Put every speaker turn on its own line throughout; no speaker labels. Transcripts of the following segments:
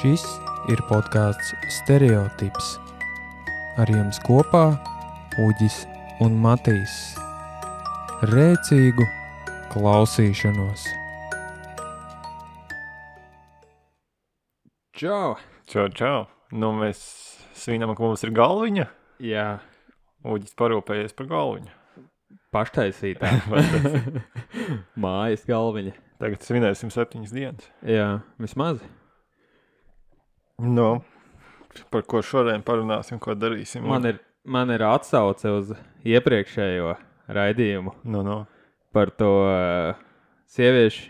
Šis ir podkāsts Stereotips. Ar jums kopā Uģis un Matīs. Rēcīgu klausīšanos! Čau!
Čau, čau. Nu, mēs svinam, ka mums ir galviņa.
Jā,
Uģis parūpējies par galviņu.
paštaisītā
Vai tas-
mājas galviņa.
Tagad svinēsim septiņas dienas.
Jā, vismaz.
No. Nu, Par ko šodien parunāsim, ko darīsim.
Man ir, man ir atsauce uz iepriekšējo raidījumu
Nu, nu.
par to uh, sieviešu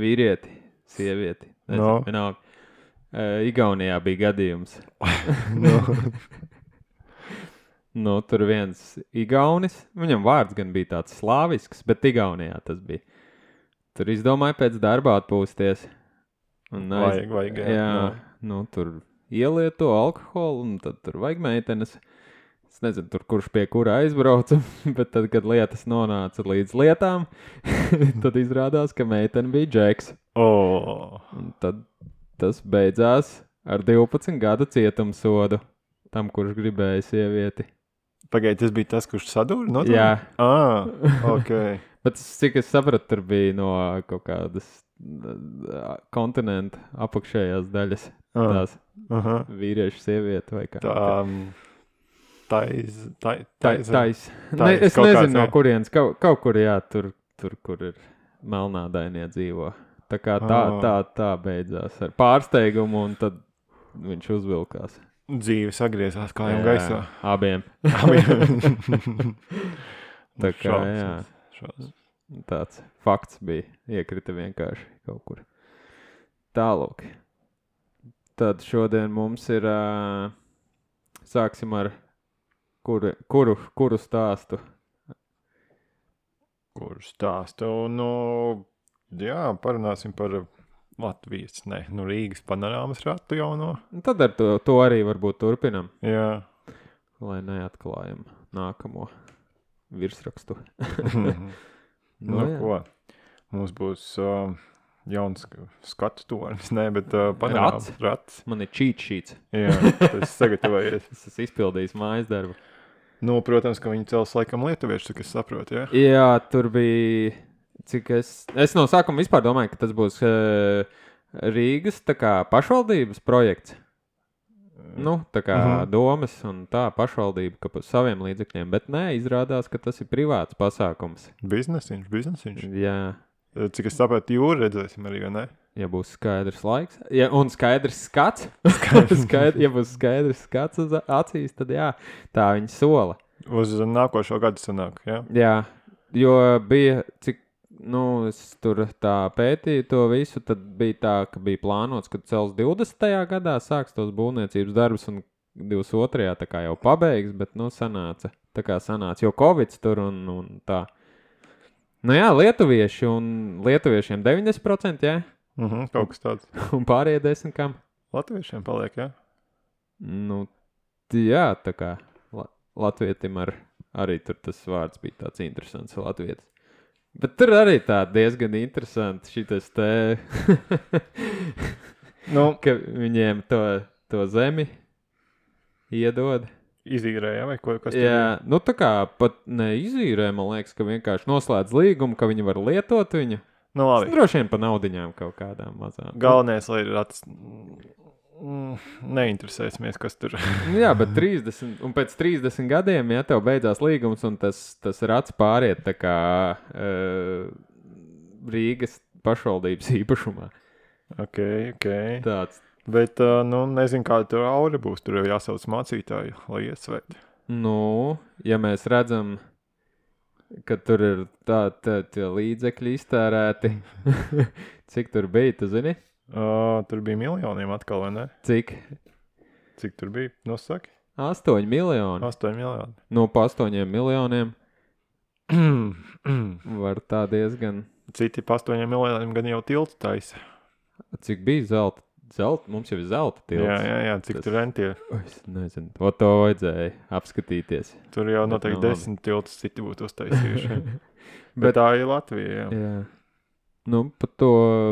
vīrieti. Sievieti.
No.
Nezinu, vienalga. Uh, Igaunijā bija gadījums.
nu.
Nu, tur viens Igaunis, viņam vārds gan bija tāds slāvisks, bet Igaunijā tas bija. Tur izdomāja pēc darba atpūsties. Un aiz-
Vajag, vajag.
jā, nu, tur ielieto alkoholu, un tad tur vajag meitenes. Es nezinu, tur, kurš pie kura aizbrauca, bet tad, kad lietas nonāca līdz lietām, tad izrādās, ka meitene bija Džeks.
O,
Un tad tas beidzās ar 12 gada cietumsodu tam, kurš gribēja sievieti.
pagaidi, tas bija tas, kurš sadūrīja no
Jā.
Ah, ok.
Bet, s- cik es sapratu, tur bija no kaut kādas uh, kontinenta apakšējās daļas.
Ah,
Tās
aha.
vīriešu, sieviete vai kā.
Tā um, tā iz- tā- tā
tā,
iz-
tā iz... ne,
iz
es
kaut
nezinu,
kāds,
no
jā.
kurienes. Kaut, kaut kur, jā, tur, tur kur ir melnādainie dzīvo. Tā kā tā,
Ah.
tā, tā beidzās ar pārsteigumu, un tad viņš uzvilkās.
dzīve sagriezās kājām
Jā,
gaisā.
Abiem. Tā kā, jā.
Šos.
Tāds fakts bija. Iekrita vienkārši kaut kur. Tālāk. Tad šodien mums ir. ā, Sāksim ar kuru, kuru, kuru stāstu.
kurš stāsta. Nu, jā, parunāsim par Latvijas, ne, nu, Rīgas panorāmas ratu jauno.
Un Nu, Tad ar to, to arī varbūt turpinam,
Jā,
lai neatklājam nākamo virsrakstu.
nu, ko. Mums būs uh, jauns sk- skatu turns, ne, bet uh, panorāmas rats.
Man ir čīts šīts.
Jā, tas sagatavojies.
Es esmu izpildījis mājas darbu.
Nu, protams, ka viņi cels laikam lietuviešu, cik es saprotu, jā.
Jā, tur bija. Cik es, es no sākuma vispār domāju, ka tas būs uh, Rīgas tā kā, pašvaldības projekts. Nu, tā kā uh -huh.
Mhm.
domas un tā pašvaldība, ka pa saviem līdzekļiem, bet nē, izrādās, ka tas ir privāts pasākums.
Biznesiņš, biznesiņš.
Jā,
Eh, Cik es saprotu, jūru redzēsim arī, vai ne?
ja būs skaidrs laiks, ja, un skaidrs skats, skaidrs, ja būs skaidrs skats uz acīs, tad jā, tā viņa sola.
Uz nākošo gadu sanāk, jā.
Jā, jo bija cik. Nu, es tur tā pētīju to visu. Tad bija tā, ka bija plānots, ka cels 20. gadā sāks tos būvniecības darbus, un 22. tā kā jau pabeigs, bet nu sanāca. Tā kā sanāca, jo Covid tur un, un tā. Nu jā, lietuvieši un lietuviešiem 90%, jā,
Mhm, kaut kas tāds.
un pārējie 10 kam.
Latviešiem paliek, jā.
Nu, t- jā, tā kā la Latvijam ar, arī tur tas vārds bija tāds interesants. Latvijas. Bet tur arī tā diezgan interesanti šis te,
Nu,
ka viņiem to, to zemi iedod.
izīrēja vai ko kas tāds.
Jā, nu tā kā pat neizīrē, man liekas, ka vienkārši noslēdz līgumu, ka viņi var lietot viņu.
Nu,
Tas
labi.
droši vien pa naudiņām kaut kādām mazām.
Galvenais, lai ir atstāts. Neinteresēsimies, kas tur ir.
Nu Jā, bet 30, un pēc 30 gadiem, ja tev beidzās līgums, un tas, tas rats pāriet tā kā uh, Rīgas pašvaldības īpašumā.
ok, ok.
Tāds,
Bet, uh, nu, nezinu, kāda tur aura būs. Tur jau jāsauc mācītāji, lai iesveiktu.
nu, ja mēs redzam, ka tur ir tādi tā, tie līdzekļi iztērēti, cik tur bija, tu zini,
Uh, tur bija miljoniem atkal, vai ne?
cik
Cik tur bija? Nosaki,
8 miljoni.
8 miljoni.
No pa 8 miljoniem var tā diezgan.
Citi pa 8 miljoniem gan jau tiltu taisa.
Cik bija zelta? Zelta, mums jau ir zelta tilts.
Jā, jā, jā, cik
Tas-
Tas... tur rentie.
O, Es nezinu, o to vajadzēja apskatīties.
Tur jau
Bet
noteikti
nav Nu, labi.
desmit tiltus citi būtu uztaisījuši. Bet,
Bet-
Bet tā ir Latvija. Jā.
Jā. Nu, par to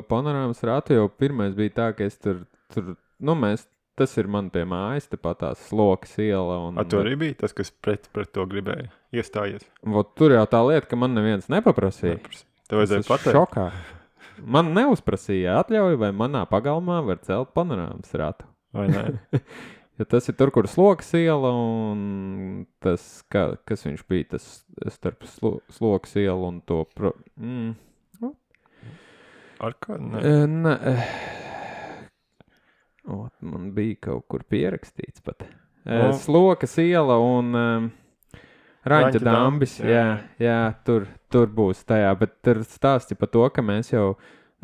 panorāmas rātu jau pirmais bija tā, ka es tur, tur nu, mēs, tas ir man tie mājas, tepat tās slokas iela. Un,
Ar to arī bija tas, kas pret, pret to gribēja iestājies.
Vot tur jau tā lieta, ka man neviens nepaprasīja.
Neprasi. Tev vajadzēja
Es esmu
pateikt,
šokā. Man neuzprasīja atļauju, vai manā pagalmā var celt panorāmas ratu.
vai ne?
Ja tas ir tur, kur sloks iela un tas, kā, kas viņš bija, tas starp slo, sloks ielu un to. Pro... Mm.
Ar kādu? Nē.
Eh, Nē. Ot, man bija kaut kur pierakstīts pat.
Nu.
No. Slokas iela un um,
Raņķa
Raņķa dambis.
dambis, jā.
Jā, jā tur, tur būs tajā. Bet tur stāsti par to, ka mēs jau,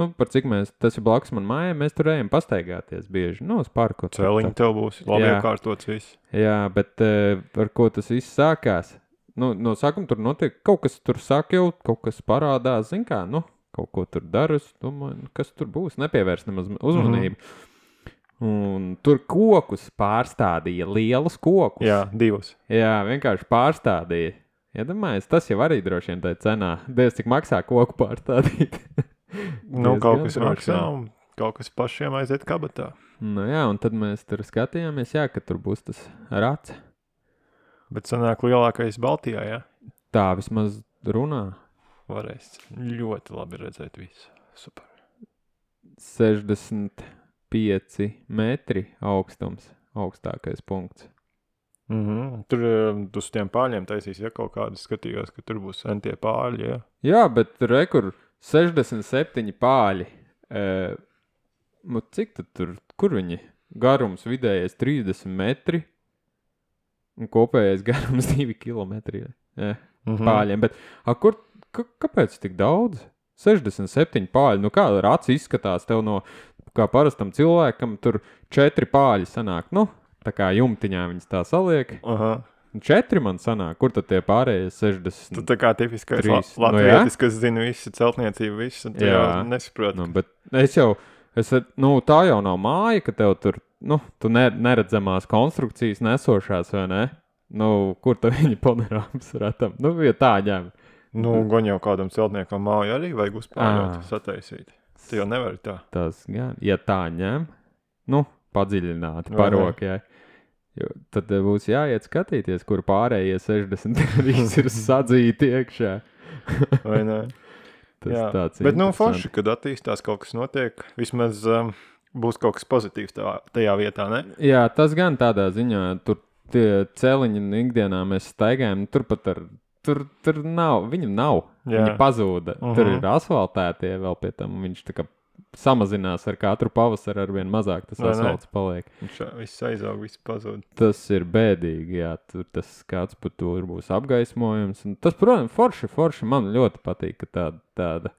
nu, par cik mēs, tas ir blakus man mājai, mēs tur ejam pastaigāties bieži. Nu, uz parku. tur
Cēliņš tev būs labi
Jā.
apkārtots viss.
Jā, bet uh, ar ko tas viss sākās? Nu, no sākuma tur notiek kaut kas, tur sāk jau kaut kas parādās, zināmā kā, nu, kaut ko tur daru. Es domāju, nu, kas tur būs, nepievērst nemaz uzmanību. Mm -hmm. Un tur kokus pārstādīja, lielus kokus.
Jā, divas.
Jā, vienkārši pārstādīja. Iedomājieties, tas jau arī droši vien tā ir cenā. Dievs, cik maksā koku pārstādīt.
Nu, kaut
Diezgan
kas
droši
maksā,
vien.
un kaut kas pašiem aiziet kabatā.
Nu, jā, un tad mēs tur skatījāmies, jā, ka tur būs tas rats.
Bet sanāk lielākais Baltijā, jā.
Tā vismaz runā.
Varēs ļoti labi redzēt visu. Super.
65 metri augstums, augstākais punkts.
Mm -hmm. Tur eh, tu uz tiem pāriem taisīs, ja kaut kādas skatījās, ka tur būs entie pāri. Jā.
Jā, bet rekur 67 pāļi. E, nu, cik tad tur, kur viņi? Garums vidējais 30 metri un kopējais garums E. 2 km. Jā,
Mm -hmm.
pāļiem. Bet, a, kur, ka, kāpēc tik daudz? 67 pāļi. Nu, kā rāds izskatās tev no, kā parastam cilvēkam, tur 4 pāļi sanāk. Nu, tā kā jumtiņā viņas tā saliek.
Aha.
Četri man sanāk, kur tad tie pārējie 60?
Tu tā kā tipiskais
Trīs. Nu,
la
jā.
latvijas, no, kas zina visu celtniecību, visu un tu
Jā.
jau nesaprot.
Nu, bet es jau, es, nu, tā jau nav māja, ka tev tur, nu, tu ne, neredzamās konstrukcijas nesošās, vai ne? Nu, kur tad viņi panorāmas ratam? Nu, ja tā ņem. Mhm.
Nu, gan jau kādam celtniekam māju arī vajag
Ā.
uzpārļaut, sataisīt. Tu jau nevari tā.
Tas gan, ja tā ņem, nu, padziļināti
Vai ne?
parokjai. Jo, tad tev būs jāiet skatīties, kur pārējie 63 ir sadzīti iekšā.
Vai ne?
Tas Jā, tāds
Bet, nu,
interesants.
forši, kad attīstās kaut kas notiek, vismaz um, būs kaut kas pozitīvs tā, tajā vietā, ne?
Jā, tas gan tādā ziņā, tur tie celiņi un ikdienā mēs staigājam, turpat ar. Tur, tur nav, viņam nav.
Jā.
Viņa pazuda. Uh -huh. Tur
Mhm.
ir asfaltētie vēl pie tam. un Viņš tā kā samazinās ar katru pavasaru, ar vien mazāk tas
Vai ne?
asfalts paliek.
Viņš ā, viss aizaug, viss pazūd.
Tas ir bēdīgi, jā, tur tas kāds par to ir būs apgaismojums. Un tas, protams, forši, forši man ļoti patīk, ka tāda. tāda.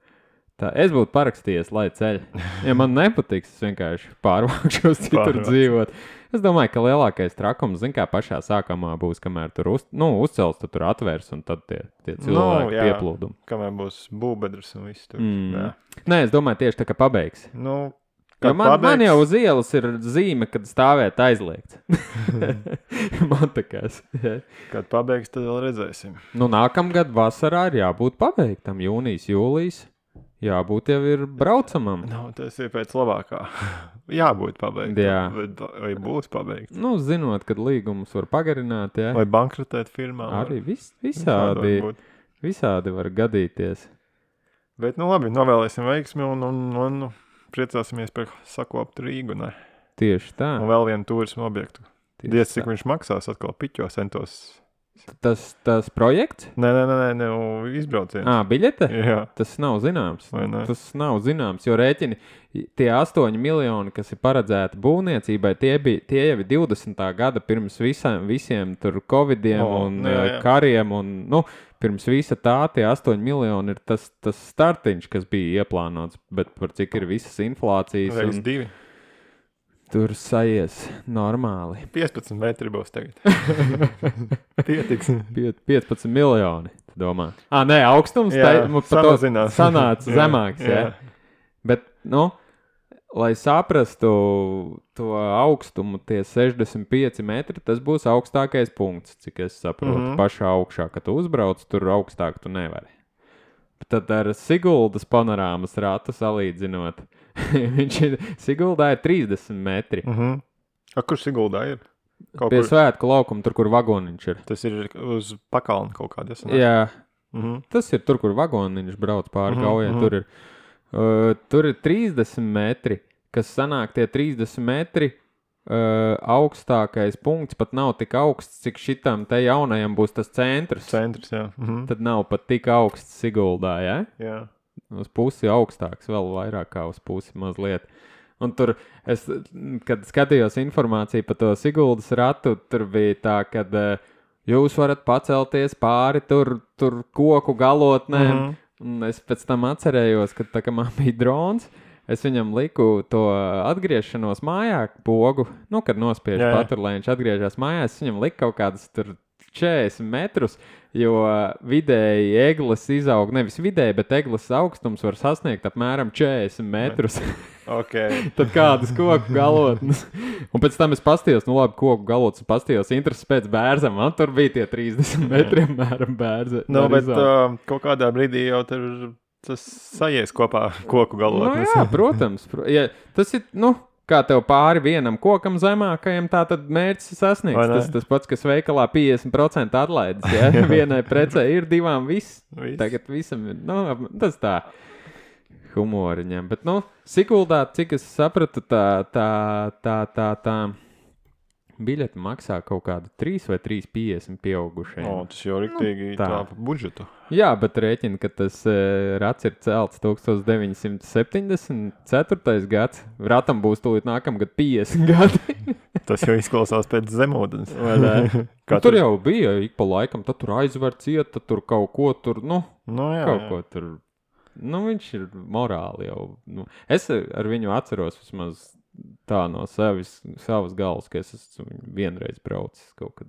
Tā, es būtu parakstījies, lai ceļ. Ja man nepatiks, es vienkārši pārvākšos citur
Pārvāc.
dzīvot. Es domāju, ka lielākais trakums, zināmā mērā, pašā sākumā būs, kamēr tur uz, nu, uzcels, tad tur atvērs un tad tie, tie
Nu,
cilvēki no,
jā.
pieplūdumi.
Kamēr būs būvbedrs un viss tur.
Mm.
Jā.
Nē, es domāju, tieši tā kā pabeigs.
Nu,
Jo
kad
Man,
pabeigs-
man jau uz ielas ir zīme, kad stāvēt aizliegts. man tā kā. jā.
Kad pabeigs, tad vēl redzēsim.
Nu, nākamgad vasarā ir jābūt pabeigtam. Jūnijas, jūlijas jābūt jau ir braucamam.
Nu, tas ir pēc labākā. Jābūt pabeigtam.
Jā.
Vai, vai būs pabeigts.
Nu, zinot, kad līgumus var pagarināt, jā.
Vai bankrotēt firmā. var.
arī vis,
Visādi var
visādi,
būt.
visādi var gadīties.
Bet, nu, labi, novēlēsim veiksmi un, un, un priecāsimies par sakoptu Rīgu. Ne?
Tieši tā.
Un vēl vienu turismu objektu.
Tieši
Diez, cik
tā.
viņš maksās atkal piķos, centos.
Tas, tas projekts?
Nē, nē, nē, nē, nē nu, izbrauciens.
Jā, biļete?
Jā,
Tas nav zināms.
vai ne?
Ah. Tas nav zināms, jo rēķini tie 8 miljoni, kas ir paredzēti būvniecībai, tie, bija, tie jau ir 20. gada pirms visiem, visiem tur covidiem
O,
oh, un
nu jā,
jā,
jā.
jā. kariem. Un, nu, pirms visa tā, tie 8 miljoni ir tas, tas startiņš, kas bija ieplānots, bet par cik ir visas inflācijas.
Reiz
un
divi.
Tur sajies normāli.
15 metri būs tagad. Pietiks.
Piet- 15 miljoni. tu Domā. Ah, nē, augstums
Jā,
tai- nu, pa to
samazinās.
Sanāca
Jā,
zemāks. Jā. Jā. Bet, nu, lai saprastu to augstumu, tie 65 metri, tas būs augstākais punkts, cik es saprotu. Mm
Mhm.
-hmm. Pašā augšā, kad tu uzbrauc, tur augstāk tu nevari. Tad ar Siguldas panorāmas rātu salīdzinot, viņš ir Siguldā ir 30 metri.
Uh -huh. A, kurš Siguldā ir? Kaut
Pie
kur,
svētku laukuma, tur, kur vagoniņš ir.
tas ir uz pakalna kaut kādas.
Jā,
Mm -hmm.
tas ir tur, kur vagoniņš brauc pāri
Mhm,
gaujai.
mhm.
Tur, ir, uh, tur ir 30 metri, kas sanāk tie 30 metri. Uh, augstākais punkts pat nav tik augsts, cik šitam te jaunajam būs tas centrs.
Centrs, jā. Mm -hmm.
Tad nav pat tik augsts Siguldā. Ja?
jā.
uz pusi augstāks, vēl vairāk kā uz pusi mazliet. Un tur, es, mm, kad skatījos informāciju par to Siguldas ratu, tur bija tā, ka jūs varat pacelties pāri tur, tur koku galotnēm. Mm -hmm.
Mhm.
Un es pēc tam atcerējos, ka tā kā man bija drons. Es viņam liku to atgriešanos mājā, pogu, nu, kad nospiež
Jā, jā.
paturu, lai viņš atgriežas mājās. Es viņam liku kaut kādus tur 40 metrus, jo vidēji eglis izaug, nevis vidēji, bet eglis augstums var sasniegt apmēram 40 metrus.
Okay.
Tad kādas koku galotnes. Un pēc tam es paskatījos, nu labi, koku galotnes paskatījos, intereses pēc bērza. Man tur bija tie 30 metri apmēram bērza.
Nu,
var
bet
izaugt.
uh, kaut kādā brīdī jau tur tas sajies kopā koku
Nu,
galotnes.
jā, protams. Pro, ja, tas ir, nu, kā tev pāri vienam kokam zemākajam, tā tad mērķis ir
Vai
sasniegts.
ne?
Tas, tas pats, kas veikalā 50% atlaides. Ja? Vienai precē ir divām viss.
Viss.
Tagad visam ir, nu, ap- tas tā. Humoriņam. Bet, nu, Sikuldā, cik es sapratu, tā, tā, tā, tā, tā. Biļete maksā kaut kādu 3 vai 3,50 pieaugušajiem.
O, tas jau ir rīktīgi nu,
tā.
tā. tā pa budžetu.
Jā, bet rēķina, ka tas e, rats ir celts 1974. gads. Ratam būs tūlīt nākamgad 50 gadi.
Tas jau izklausās pēc zemūdens.
Vai ne? Nu,
Kā
tur jau bija ik pa laikam, tad tur aizver ciet, tad tur kaut ko tur, nu,
Nu, jā,
jā, kaut
jā.
jā. ko tur. Nu, viņš ir morāli jau. Nu, es ar viņu atceros vismaz tā no sevis, savas galvas, ka es esmu viņu vienreiz braucis kaut kad.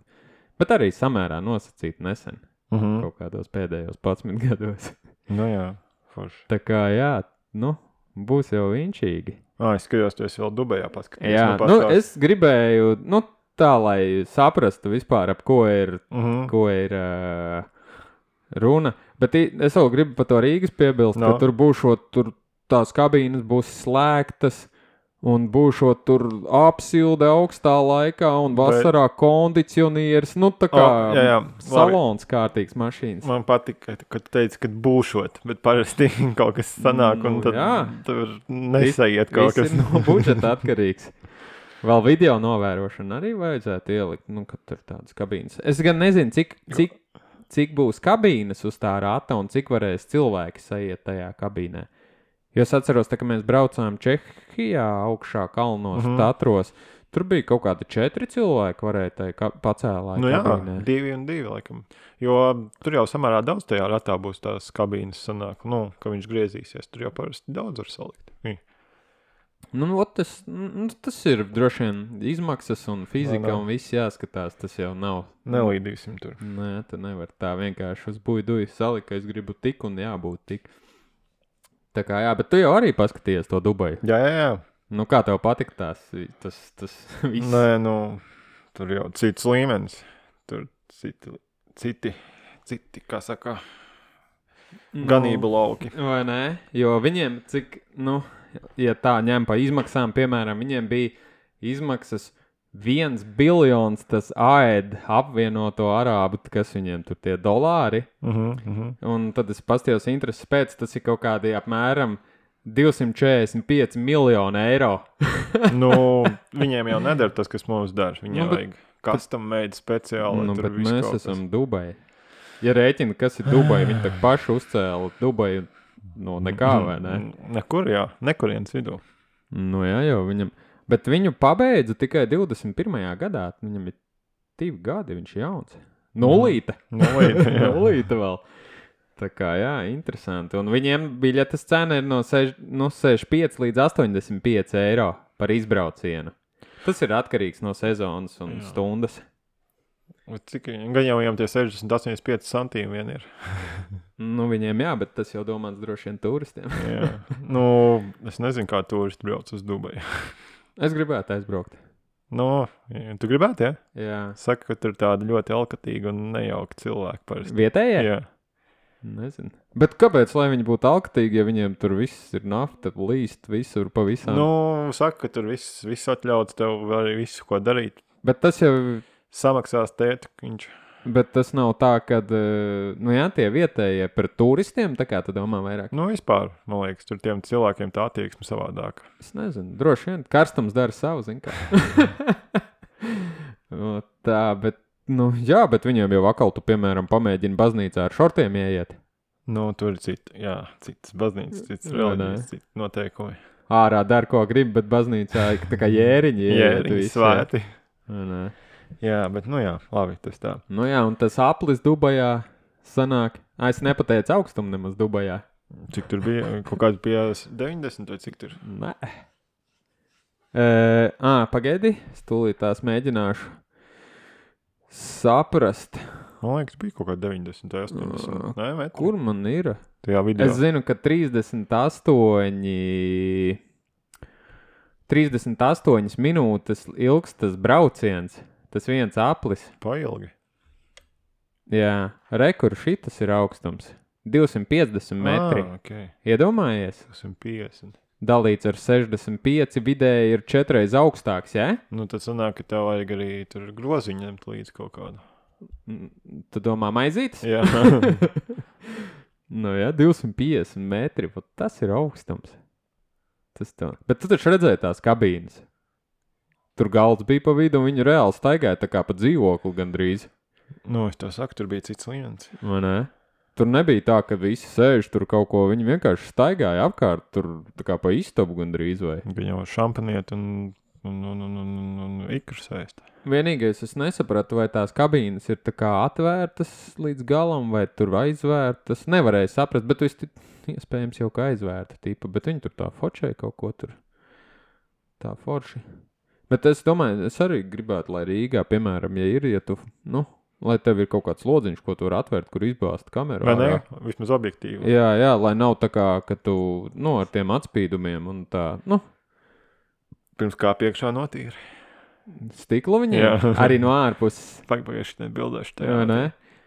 Bet arī samērā nosacīti nesen,
Mhm.
kaut kādos pēdējos 11 gados.
Nu, jā, forši.
Tā kā, jā, nu, būs jau inčīgi.
Ah, es skatījos, tu esi vēl Dubajā paskatījies.
Jā, nu,
pastāsti.
es gribēju, nu, tā lai saprastu vispār, ap ko ir,
Mhm.
ko ir uh, runa. Bet i- es vēl gribu par to Rīgas piebilst, no.
No.
ka tur būšot, tur tās kabīnes būs slēgtas. Un būšot tur apsilde augstā laikā, un vasarā Bet... kondicionieris. Nu, tā kā
Ah, jā, jā, labi.
salons kārtīgs mašīnas.
Man patika, ka tu teici, ka būšot, bet parasti kaut kas sanāk, un
Nu,
tad
jā. nu
tur nesaiet
Viss
kaut kas.
ir no budžeta atkarīgs. Vēl video novērošana arī vajadzētu ielikt, nu, kad tur tādas kabīnes. Es gan nezinu, cik, cik, cik būs kabīnes uz tā rāta un cik varēs cilvēki sajiet tajā kabīnē. Jo es atceros, tā, ka mēs braucām Čehijā augšā kalnos, mm
Mhm.
-hmm. Tatros. Tur bija kaut kādi četri cilvēki, varēja tai ka- pacēlāt.
Nu, jā,
kabīnē.
divi un divi, laikam. Jo tur jau samērā daudz tajā ratā būs tās kabīnes, sanāk, nu, ka viņš griezīsies. Tur jau parasti daudz var salikt. Ih.
Nu, ot, tas, nu, tas ir droši vien izmaksas un fizika,
Vai ne?
un viss jāskatās. Tas jau nav
Nelīdīsim tur.
Nē, tā nevar tā vienkārši uz buļbuļs salikt, ka es gribu tik un jābūt tik. Tā kā jā, bet tu jau arī paskatījies to dubai.
Jā, jā, jā.
Nu, kā tev patīk tās, vi- tas, tas viss?
Nē, nu, tur jau cits līmenis. Tur citi, citi, citi kā saka,
Nu,
ganību lauki.
Vai ne? Jo viņiem, cik, nu, ja tā ņem pa izmaksām, piemēram, viņiem bija izmaksas viens biljons tas AED apvienoto arābu, kas viņiem tur tie dolāri.
Uh -huh, uh -huh.
Un tad es paskatījos, intereses pēc, tas ir kaut kādi apmēram 245 miljoni eiro.
nu, viņiem jau nedara tas, kas mums dara. Viņiem
Nu,
nu,
bet-
vajag custom made speciāli.
nu,
tur
bet
viss
mēs
kaut kas.
esam Dubai. Ja rēķina, kas ir Dubai, viņi tā paši uzcēla Dubai. No nekā, vai ne?
Mm, Nekur, jā, nekurienes vidū. Mm.
Nu, jā, jau viņam. Bet viņu pabeidza tikai 21. gadā. Viņam ir divi gadi, viņš ir jauns. Nulīta.
Nu, līdz, jā.
Nulīta vēl. Tā kā, jā, interesanti. Un viņiem biļetes cena ir no, seš, no 65 līdz 85 eiro par izbraucienu. Tas ir atkarīgs no sezonas un jā. stundas.
Bet Cik viņi- gan jau viņam tie 68,5 centīmi vien ir?
Nu, viņiem jā, bet tas jau domāts droši vien turistiem.
Jā. nu, es nezinu, kā turisti brauc uz Dubaju.
Es gribētu aizbraukt.
Nu, ja tu gribētu, jā?
Jā,
Saka, ka tur tādi ļoti alkatīgi un nejauki cilvēki parasti.
vietējie.
Jā,
Nezinu. Bet kāpēc lai viņi būtu alkatīgi, ja viņiem tur viss ir nafta, līst visur pa visām?
Nu, saka, ka tur viss, viss atļauts tev arī visu, ko darīt.
Bet tas jau
Samaksās tēta, viņš
Bet tas nav tā, ka nu, jā, tie vietējie par turistiem tā kā tu domā vairāk.
nu, vispār, man liekas, tur tiem cilvēkiem tā attieksme savādāka.
Es nezinu, droši vien karstums dara savu, zin kā. Nu, tā, bet, nu, jā, bet viņiem jau atkal, tu, piemēram, pamēģini baznīcā ar šortiem ieiet.
Nu, tur ir cita, jā, citas baznīcas, citas
Jā,
reliģijas,
nē.
citas noteikumi.
Ārā dara, ko grib, bet baznīcā ir tā kā jēriņi.
Jā,
ieiet
viņi
visi, jā.
svēti.
Nē.
Jā, bet nu jā, labi, tas tā.
Nu jā, un tas aplis Dubajā sanāk. Ai, es nepateicu augstumu nemaz Dubajā.
Cik tur bija? Kaut kāds bija 90 vai cik tur?
Nē. Ā, e, pagaidi, stulīt tās mēģināšu saprast,
Man liekas, bija kaut kāda 90 vai 80. Nē, vai
kur
kur?
man ir.
Tajā video.
Es zinu, ka 38. 38 minūtes ilgs tas brauciens, tas viens aplis.
Pailgi.
Jā, rekurs šis ir augstums. 250 metri.
Ah, okay.
Iedomājies,
150.
dalīts ar 65 vidēji ir četreiz augstāks, jā? Ja?
Nu, tad sanāk, ka tev vajag arī tur groziņu ņemt līdzi kaut kādu.
Mm, Tu domā, maizītis?
Jā,
Nu, jā, 250 metri. vat Tas ir augstums. Tas tā. Bet tu taču redzēji tās kabīnes. Tur galds bija pa vidu, un viņi reāli staigāja tā kā pa dzīvokli gandrīz.
nu, es tā saku, tur bija cits līmenis.
vai Ne? Tur nebija tā, ka visi sēž tur kaut ko. Viņi vienkārši staigāja apkārt, tur tā kā pa istabu gandrīz. Vai.
Viņa jau šampaniet un, un, un, un, un, un, un ikras ēst.
Vienīgais, es nesapratu, vai tās kabīnes ir tā kā atvērtas līdz galam, vai tur aizvērtas. Nevarēju saprast, bet visti, iespējams jau kā aizvērta tipa, bet viņi tur tā fočēja kaut ko tur. Tā forši. Bet es domāju, es arī gribētu, lai Rīgā, piemēram, ja ir, ja tu, nu, lai tev ir kaut kāds lodziņš, ko tu vari atvērt, kur izbāzt kameru.
Vai ne?
ārā.
Vismaz objektīvi.
Jā, jā, lai nav tā kā, ka tu, nu, ar tiem atspīdumiem un tā, nu,
Pirms kā piekšā notīra.
stiklu
Jā.
viņiem arī no ārpuses.
Pagaidiet, šeit bildēšu
Jā,
tajā.
nē.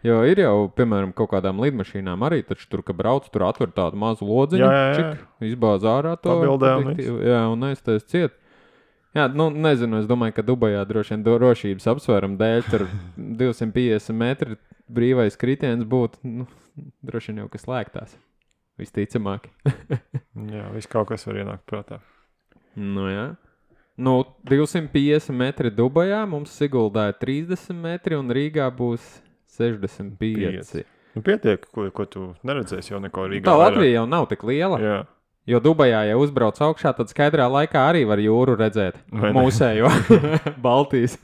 Jo ir jau, piemēram, kaut kādām lidmašīnām arī, taču tur, kad brauc, tur atver tādu mazu lodziņu,
Jā, jā, jā.
čik, izbāz ārā to
Pabildē un
objektīvu, Jā, un aiztais ciet. Jā, nu, nezinu, es domāju, ka Dubajā droši vien drošības apsvērumu dēļ tur 250 metri brīvais kritiens būtu, nu, droši vien jau kas slēgtās. Visticamāk.
Jā, viss kaut kas var ienākt prātā.
Nu, jā. Nu, 250 metri Dubajā mums Siguldā ir 30 metri un Rīgā būs 65.
Pieci. Nu, pietiek, ko, ko tu neredzēsi jau neko Rīgā.
Tā
vairāk.
Latvija jau nav tik liela. Jā.
Jā,
Jo Dubajā, ja uzbrauc augšā, tad skaidrā laikā arī var jūru redzēt.
Vai ne?
Mūsējo Baltijas.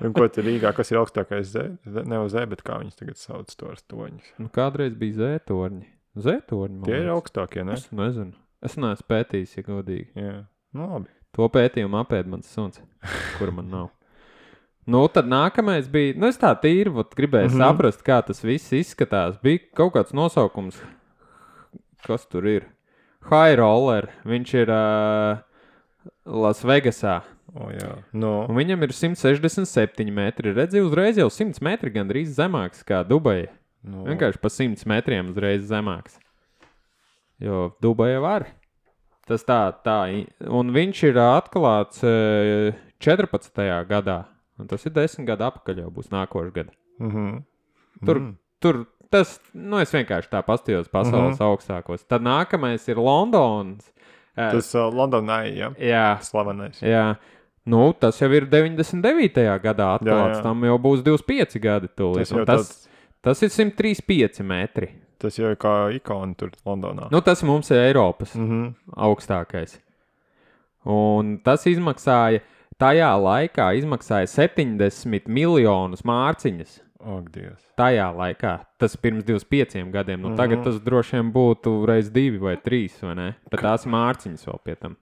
un ko tur Rīgā, kas ir augstākais zēns? Ne uz zēna, bet kā viņas tagad sauc to ar stoņus.
nu, kādreiz bija zētorņi. Zētorņi man
Tie ir
liekas.
augstākie, ne?
Es nezinu. Es neesmu pētījis, ja godīgi.
Jā, nu labi.
To pētījumu apēd mans suns, kur man nav. Nu, tad nākamais bija. Nu, es tā tīri vat, gribēju mm
Mhm.
-hmm. saprast, kā tas viss izskatās. Bija kaut kāds nosaukums, kas tur ir. High Roller. Viņš ir uh, Lasvegasā.
O, jā. Nu,
Un viņam ir 167 metri. Redzi, uzreiz jau 100 metri gandrīz zemāks kā Dubai.
nu,
Vienkārši pa 100 metriem uzreiz zemāks. Jo Dubai var. Tas tā, tā. i- Un viņš ir atklāts eh, 14. gadā. Un tas ir 10 gadu apakaļ, jau būs nākošais gads.
Mm -hmm.
Tur, mm. tur tas, nu, es vienkārši tā pastījos pasaules mm -hmm. augstākos. Tad nākamais ir Londons. Eh,
Tas uh, Londonā ir ja?
Jā,
slavenais.
Jā, nu, tas jau ir 99. gadā atklāts. Jā, jā.
jā.
Tam jau būs 25 gadi. Tūlīt,
Tas
tas,
jau
tas,
tāds-
tas ir 135 metri.
Tas jau ir kā ikona tur Londonā.
Nu, tas mums ir Eiropas
Mm -hmm.
augstākais. Un tas izmaksāja, tajā laikā izmaksāja 70 miljonus mārciņas.
Ak, Dievs.
Tajā laikā, tas pirms 25 gadiem, nu, mm -hmm.
Mhm.
tagad tas droši vien būtu reizes divi vai trīs, vai ne? Tad tās mārciņas vēl pie tam.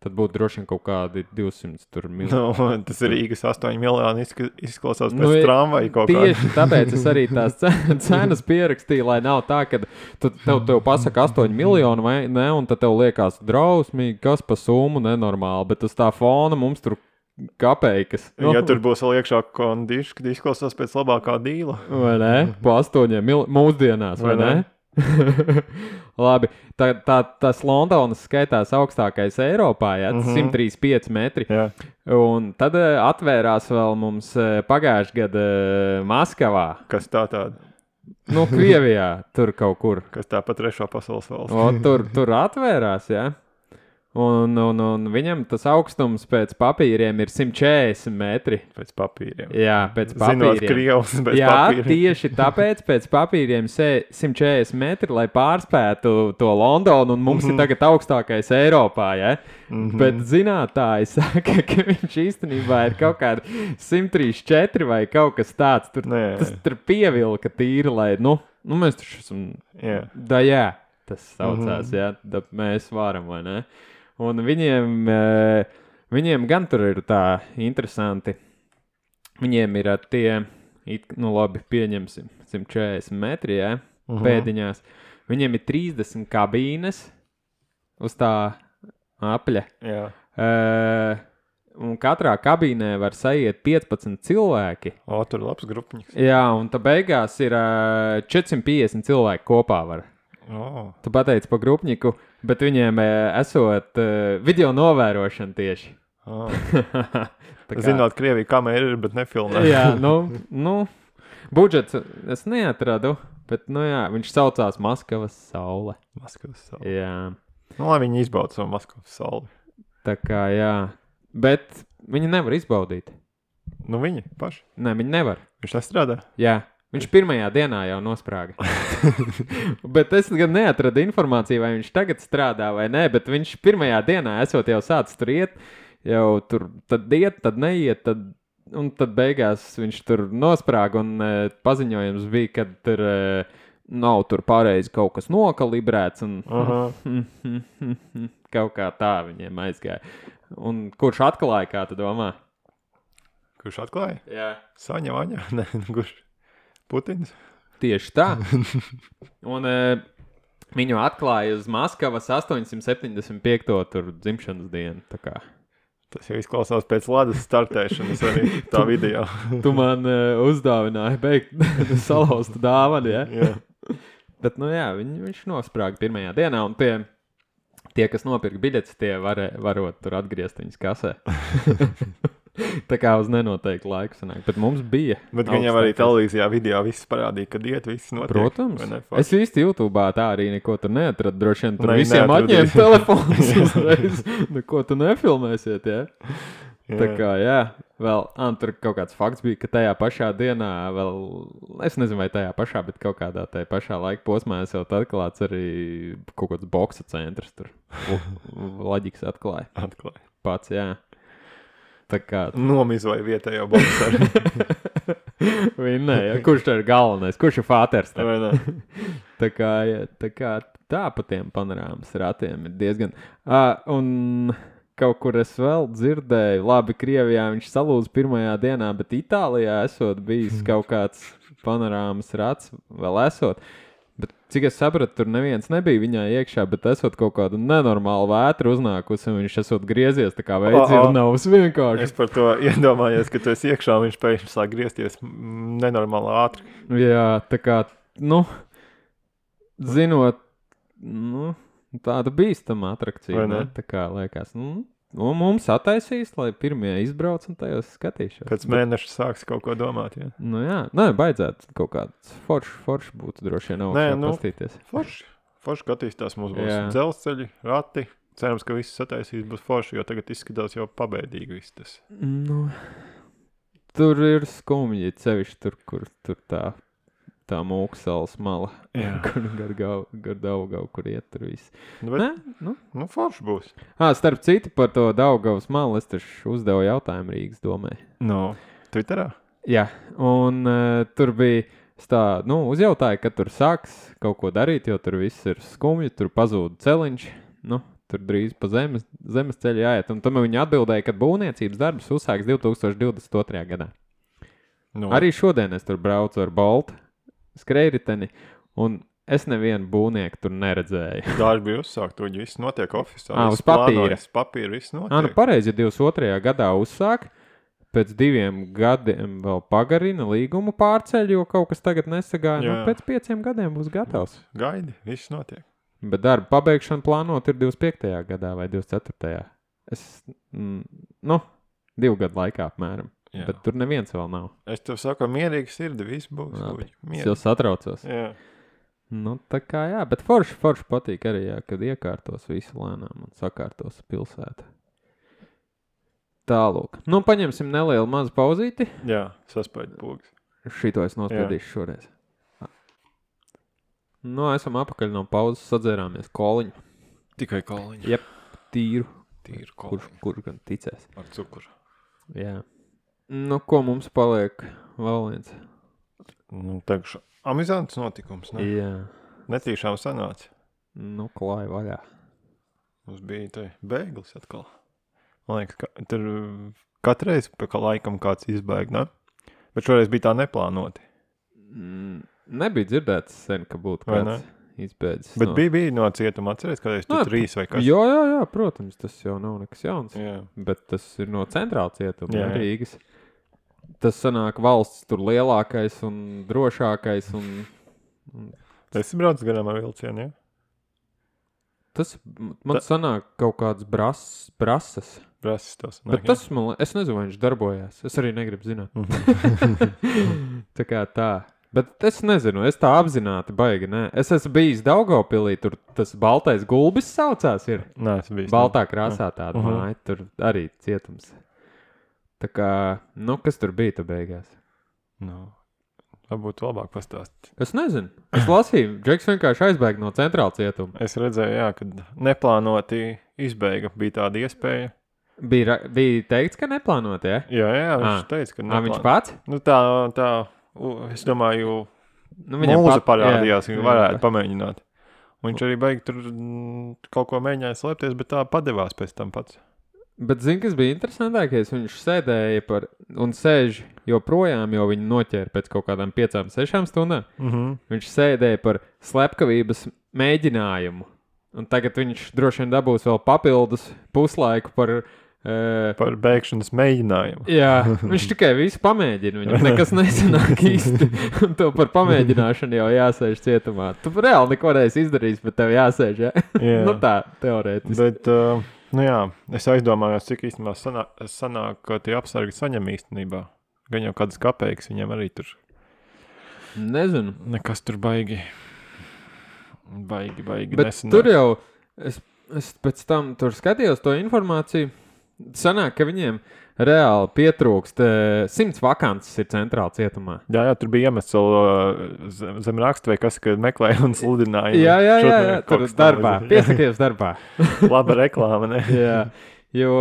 Tad būtu droši vien kaut kādi 200 tur miljoni.
Nu, tas ir Rīgas 8 miljoni. izska- Izklausās pēc
Nu,
nu, tramvaja kaut kā.
Tieši tāpēc es arī tās ce- cenas pierakstīju, lai nav tā, ka tu, tev, tev pasaka 8 miljoni vai ne, un tad tev liekas drausmīgi, kas pa summu nenormāli, bet uz tā fona mums tur kapeikas.
Nu, ja tur būs vēl iekšā kondišs, kad izklausās pēc labākā dīla.
Vai ne? Pa astoņiem mil... mūsdienās, vai, vai ne? ne? Labi, tā, tā, tas Londonas skaitās augstākais Eiropā, jā, mm -hmm. 135 metri.
Jā.
Un tad eh, atvērās vēl mums eh, pagājušajā gadā eh, Maskavā,
Kas tā tāda?
nu, Krievijā, tur kaut kur.
Kas tā pa trešo pasaules valsts?
O, tur, tur atvērās, jā. Un, un, un viņam tas augstums pēc papīriem ir 140 metri.
Pēc papīriem.
Jā, pēc
Zinot,
papīriem.
krievs bez
Jā,
papīriem.
tieši tāpēc pēc papīriem se- 140 metri, lai pārspētu to Londonu, un mums mm -hmm. ir
Mhm.
tagad augstākais Eiropā. Ja? Mm -hmm. Bet zinātnēji saka, ka viņš īstenībā ir kaut kāds 134 vai kaut kas tāds. Tur,
Nē.
tas tur pievilka tīri, lai nu, nu mēs taču esam
Jā. Mhm.
Daļā tas saucās, mm. jā, da, mēs varam, vai ne? Un viņiem, eh, viņiem gan tur ir tā interesanti. Viņiem ir eh, tie, it- nu labi, pieņemsim, 140 metri jā,
Mhm.
pēdiņās. Viņiem ir 30 kabīnes uz tā apļa.
Jā.
Eh, Un katrā kabīnē var sajiet 15 cilvēki.
O, tur ir labs grupņiks.
Jā, un tā beigās ir eh, 450 cilvēki kopā. Var.
O,
Tu pateici par grupniku, bet viņiem e, esot e, video novērošana tieši.
o.
Tā kā-
Zinot, Krievija kamera ir, bet nefilmē.
jā, nu, nu, budžets es neatradu, bet nu, jā, viņš saucās Maskavas saule.
Maskavas saule.
Jā,
Nu, lai viņi izbauda savu Maskavas sauli.
tā kā jā, bet viņi nevar izbaudīt.
Nu, viņi paši.
Nē, viņi nevar.
Viņš nestrādā.
Jā. Viņš pirmajā dienā jau nosprāga. bet es gan neatradu informāciju, vai viņš tagad strādā vai nē, bet viņš pirmajā dienā esot jau sācis tur iet, jau tur tad iet, tad neiet. Tad... Un tad beigās viņš tur nosprāga, un e, paziņojums bija, ka tur e, nav tur pareizi kaut kas nokalibrēts. Un,
Aha.
kaut kā tā viņiem aizgāja. Un kurš atklāja, kā tu domā?
Kurš atklāja?
Jā.
Saņa vaņa. Nē, nu, kurš? Putins.
Tieši tā. Un, e, viņu atklāja uz Maskavas 875. Tur, dzimšanas dienu. tā kā.
Tas jau izklausās pēc Latvijas startēšanas arī tā video.
Tu man e, uzdāvināji beigt salauztu dāvanu. Ja?
Jā.
Bet, nu jā, viņ, viņš nosprāga pirmajā dienā. un Tie, tie, kas nopirka biļetes, tie var, varot tur atgriezt viņas kasē. Tā kā uz nenoteiktu laiku sanāk. Bet mums bija.
Bet gan jau arī
augstākais.
televīzijā, video viss parādīja, kad iet, viss notiek.
Protams,
vai ne?
es īsti YouTube tā arī neko tur neatradu. Droši vien tur
Ne,
ne, visiem atņēma
neatradīsi.
telefonus uzreiz. Nu, ko tu nefilmēsiet? Ja?
Jā.
Tā kā, jā, vēl an, tur kaut kāds fakts bija, ka tajā pašā dienā, vēl, es nezinu, vai tajā pašā, bet kaut kādā tajā pašā laika posmā jau atklāts arī kaut kāds boxa centrs. Tur Laģiks atklāja
Atklāja.
pats. Jā. Tā kā
Nomizoja vietējo bokseru.
vinnēja. Kurš tur ir galvenais? Kurš ir fāters?
Vai ne?
Tā kā, jā, tā kā tā pa tiem panorāmas ratiem ir diezgan. Uh, un kaut kur es vēl dzirdēju, labi, Krievijā viņš salūza pirmajā dienā, bet Itālijā esot bijis kaut kāds panorāmas rats, vēl esot. Bet, cik es sapratu, tur neviens nebija viņā iekšā, bet esot kaut kāda nenormāla vētra uznākusi, un viņš esot griezies tā kā veicinājums vienkārši.
Es par to iedomājos, ka tu esi iekšā un viņš pēkšņi sāk griezties mm, nenormāli ātri.
Jā, tā kā, nu, zinot, nu, tāda bīstama
Vai
attrakcija.
ne?
Ne? Tā kā liekas, nu, nu, mums attaisīs, lai pirmie izbrauc un tajos skatīšos.
Pēc mēneša sāks kaut ko domāt. Ja?
Nu, jā, nē, baidzētu kaut kāds foršs, foršs būtu droši vien
Nē,
augstāk
nu.
pastīties.
Forši. Forši, ka attīstās mums būs
Jā.
dzelzceļi, rati. Cerams, ka viss sataisīs būs forši, jo tagad izskatās jau pabeigīgi viss tas.
Nu, tur ir skumji, cevišķi tur, kur tur tā, tā mūksels mala,
Jā.
kur gar, gar daugau, kur iet tur viss.
Nu, bet,
Nē, nu,
nu, forši būs.
Ah, starp citu, par to Daugavas malu es taču uzdevu jautājumu Rīgas domē. Nu,
No Twitterā.
Jā, un uh, tur bija tā, nu, uzjautāja, ka tur sāks kaut ko darīt, jo tur viss ir skumji, tur pazūd celiņš. Nu, tur drīz pa zemes, zemes ceļu jāiet. Un tam viņi atbildēja, ka būvniecības darbs uzsāks 2022. gadā.
No. Nu,
Arī šodien es tur braucu ar Baltu skrejriteni. un Es nevienu būvnieku tur neredzēju.
Dārgi bija uzsākt, tur viss notiek oficiāli.
Ā, Ah, uz papīra.
Uz papīra viss notiek.
Ah, nu pareizi, ja 22. gadā uzsāk, pēc diviem gadiem vēl pagarina līgumu pārceļ, jo kaut kas tagad nesagāja. Nu,
Jā.
pēc pieciem gadiem būs gatavs.
Gaidi, viss notiek.
Bet darba pabeigšana plānota ir 25. gadā vai 24. Es, mm, nu, divu gadu laikā apmēram.
Jā.
Bet tur neviens vēl nav.
Es tev saku, mierīgi sirdi, viss būs.
Labi.
Uģi,
Es jau
Mierīgi.
satraucos.
Jā.
Nu, tā kā jā, bet forši, forši patīk arī, jā, kad iekārtos visu lēnām un sakārtos pilsētu. Tālāk. Nu, paņemsim nelielu mazu pauzīti.
Jā, saspēlēt pogas.
Šito es nospiedīšu šoreiz. Ah. Nu, esam apakaļ no pauzes, sadzērāmies koliņu.
Tikai kalniņa.
Jep, tīru.
Tīri
Kurš,
kalniņa
kurš gan ticēs?
ar cukuru.
Jā. Nu, ko mums paliek vēl viens?
Nu, Tagad amizants notikums. Ne?
Jā.
Netīšām sanāca.
Nu, klāja vaļā.
Mums bija tā bēglis atkal. Man liekas, ka tur uh, katru reizi pa ka laikam kāds izbēg. Ne? Bet šoreiz bija tā neplānoti.
Mm, Nebija dzirdēts sen, ka būtu
Vai
kāds izbēdzis.
Bet no. bija, bija no cietuma atcerēties, kad es tur
Nā,
trīs vai
Kas?
kas
Nu, Jā, jā, jā, protams, tas jau nav nekas jauns. Jā.
Jā.
Bet tas ir no centrāla cietuma,
Jā,
no
jā.
Rīgas. Tas sanāk, valsts tur lielākais un drošākais. Un
Es braucu garām ar vilcienu. Ja?
tas m- man Ta... sanāk kaut kāds brass, brasas.
Brāzis tas.
Bet tas man, li- es nezinu, vai viņš darbojās. Es arī negribu zināt. tā kā tā. Bet es nezinu, es tā apzināti baigi. Nē. Es esmu bijis Daugopilī, tur tas baltais gulbis saucās. Ir.
Nē, tas bija.
Baltā krāsā tāda uh
Mhm.
-huh. māja, tur arī cietums. Tā kā, nu, kas tur bija tu beigās?
Nu, varbūt labāk pastāstīt.
Es nezinu. Es lasīju, Džeks vienkārši aizbēga no centrāla cietuma.
Es redzēju, jā, kad neplānoti izbeiga bija tāda iespēja.
Bija, ra- bija teikts, ka neplānot, ja?
Jā, jā viņš
Ā.
teica, ka
Nā, Ah. viņš
neplāno-
pats?
Nu, tā, tā, u- es domāju,
Nu,
viņa
viņam
mūza
pat-
parādījās,
jā,
ka
jā,
varētu
pa-
pamēģināt. Un Viņš arī beigās tur mm, kaut ko mēģināja slēpties, bet tā padevās pēc tam pats.
Bet zini, kas bija interesantākais? Viņš sēdēja par, un sēž joprojām, jo viņu noķēra pēc kaut kādām piecām, sešām stundām.
Mm -hmm.
Viņš sēdēja par slepkavības mēģinājumu. Un tagad viņš droši vien dabūs vēl papildus puslaiku par. Uh,
Par bēgšanas mēģinājumu.
jā, viņš tikai visu pamēģina. Viņam nekas nesanāk īsti. Un to par pamēģināšanu jau jāsēž cietumā. Tu reāli neko neesi izdarījis, bet tev jāsēž. Jā?
Jā.
nu tā, teorētiski.
Bet, uh, nu jā, es aizdomājos, cik īstenībā sanā, sanāk, ka tie apsargi saņem īstenībā. Gan jau kādas kapeikas viņam arī tur.
Nezinu.
Nekas tur baigi. Baigi, baigi.
Bet
nesanāk.
tur jau es, es pēc tam tur skatījos to informāciju. Sanāk, ka viņiem reāli pietrūkst eh, simts vakances ir centrāla cietumā.
Jā, jā, tur bija iemests vēl uh, zem, zem raksta, vai kas, kad meklēja un sludināja.
Jā, jā, jā,
Šodien
jā
kaut
tur
kas
ir darbā.
tāds.
Piesakies darbā.
Laba reklāma, ne?
Jā, jo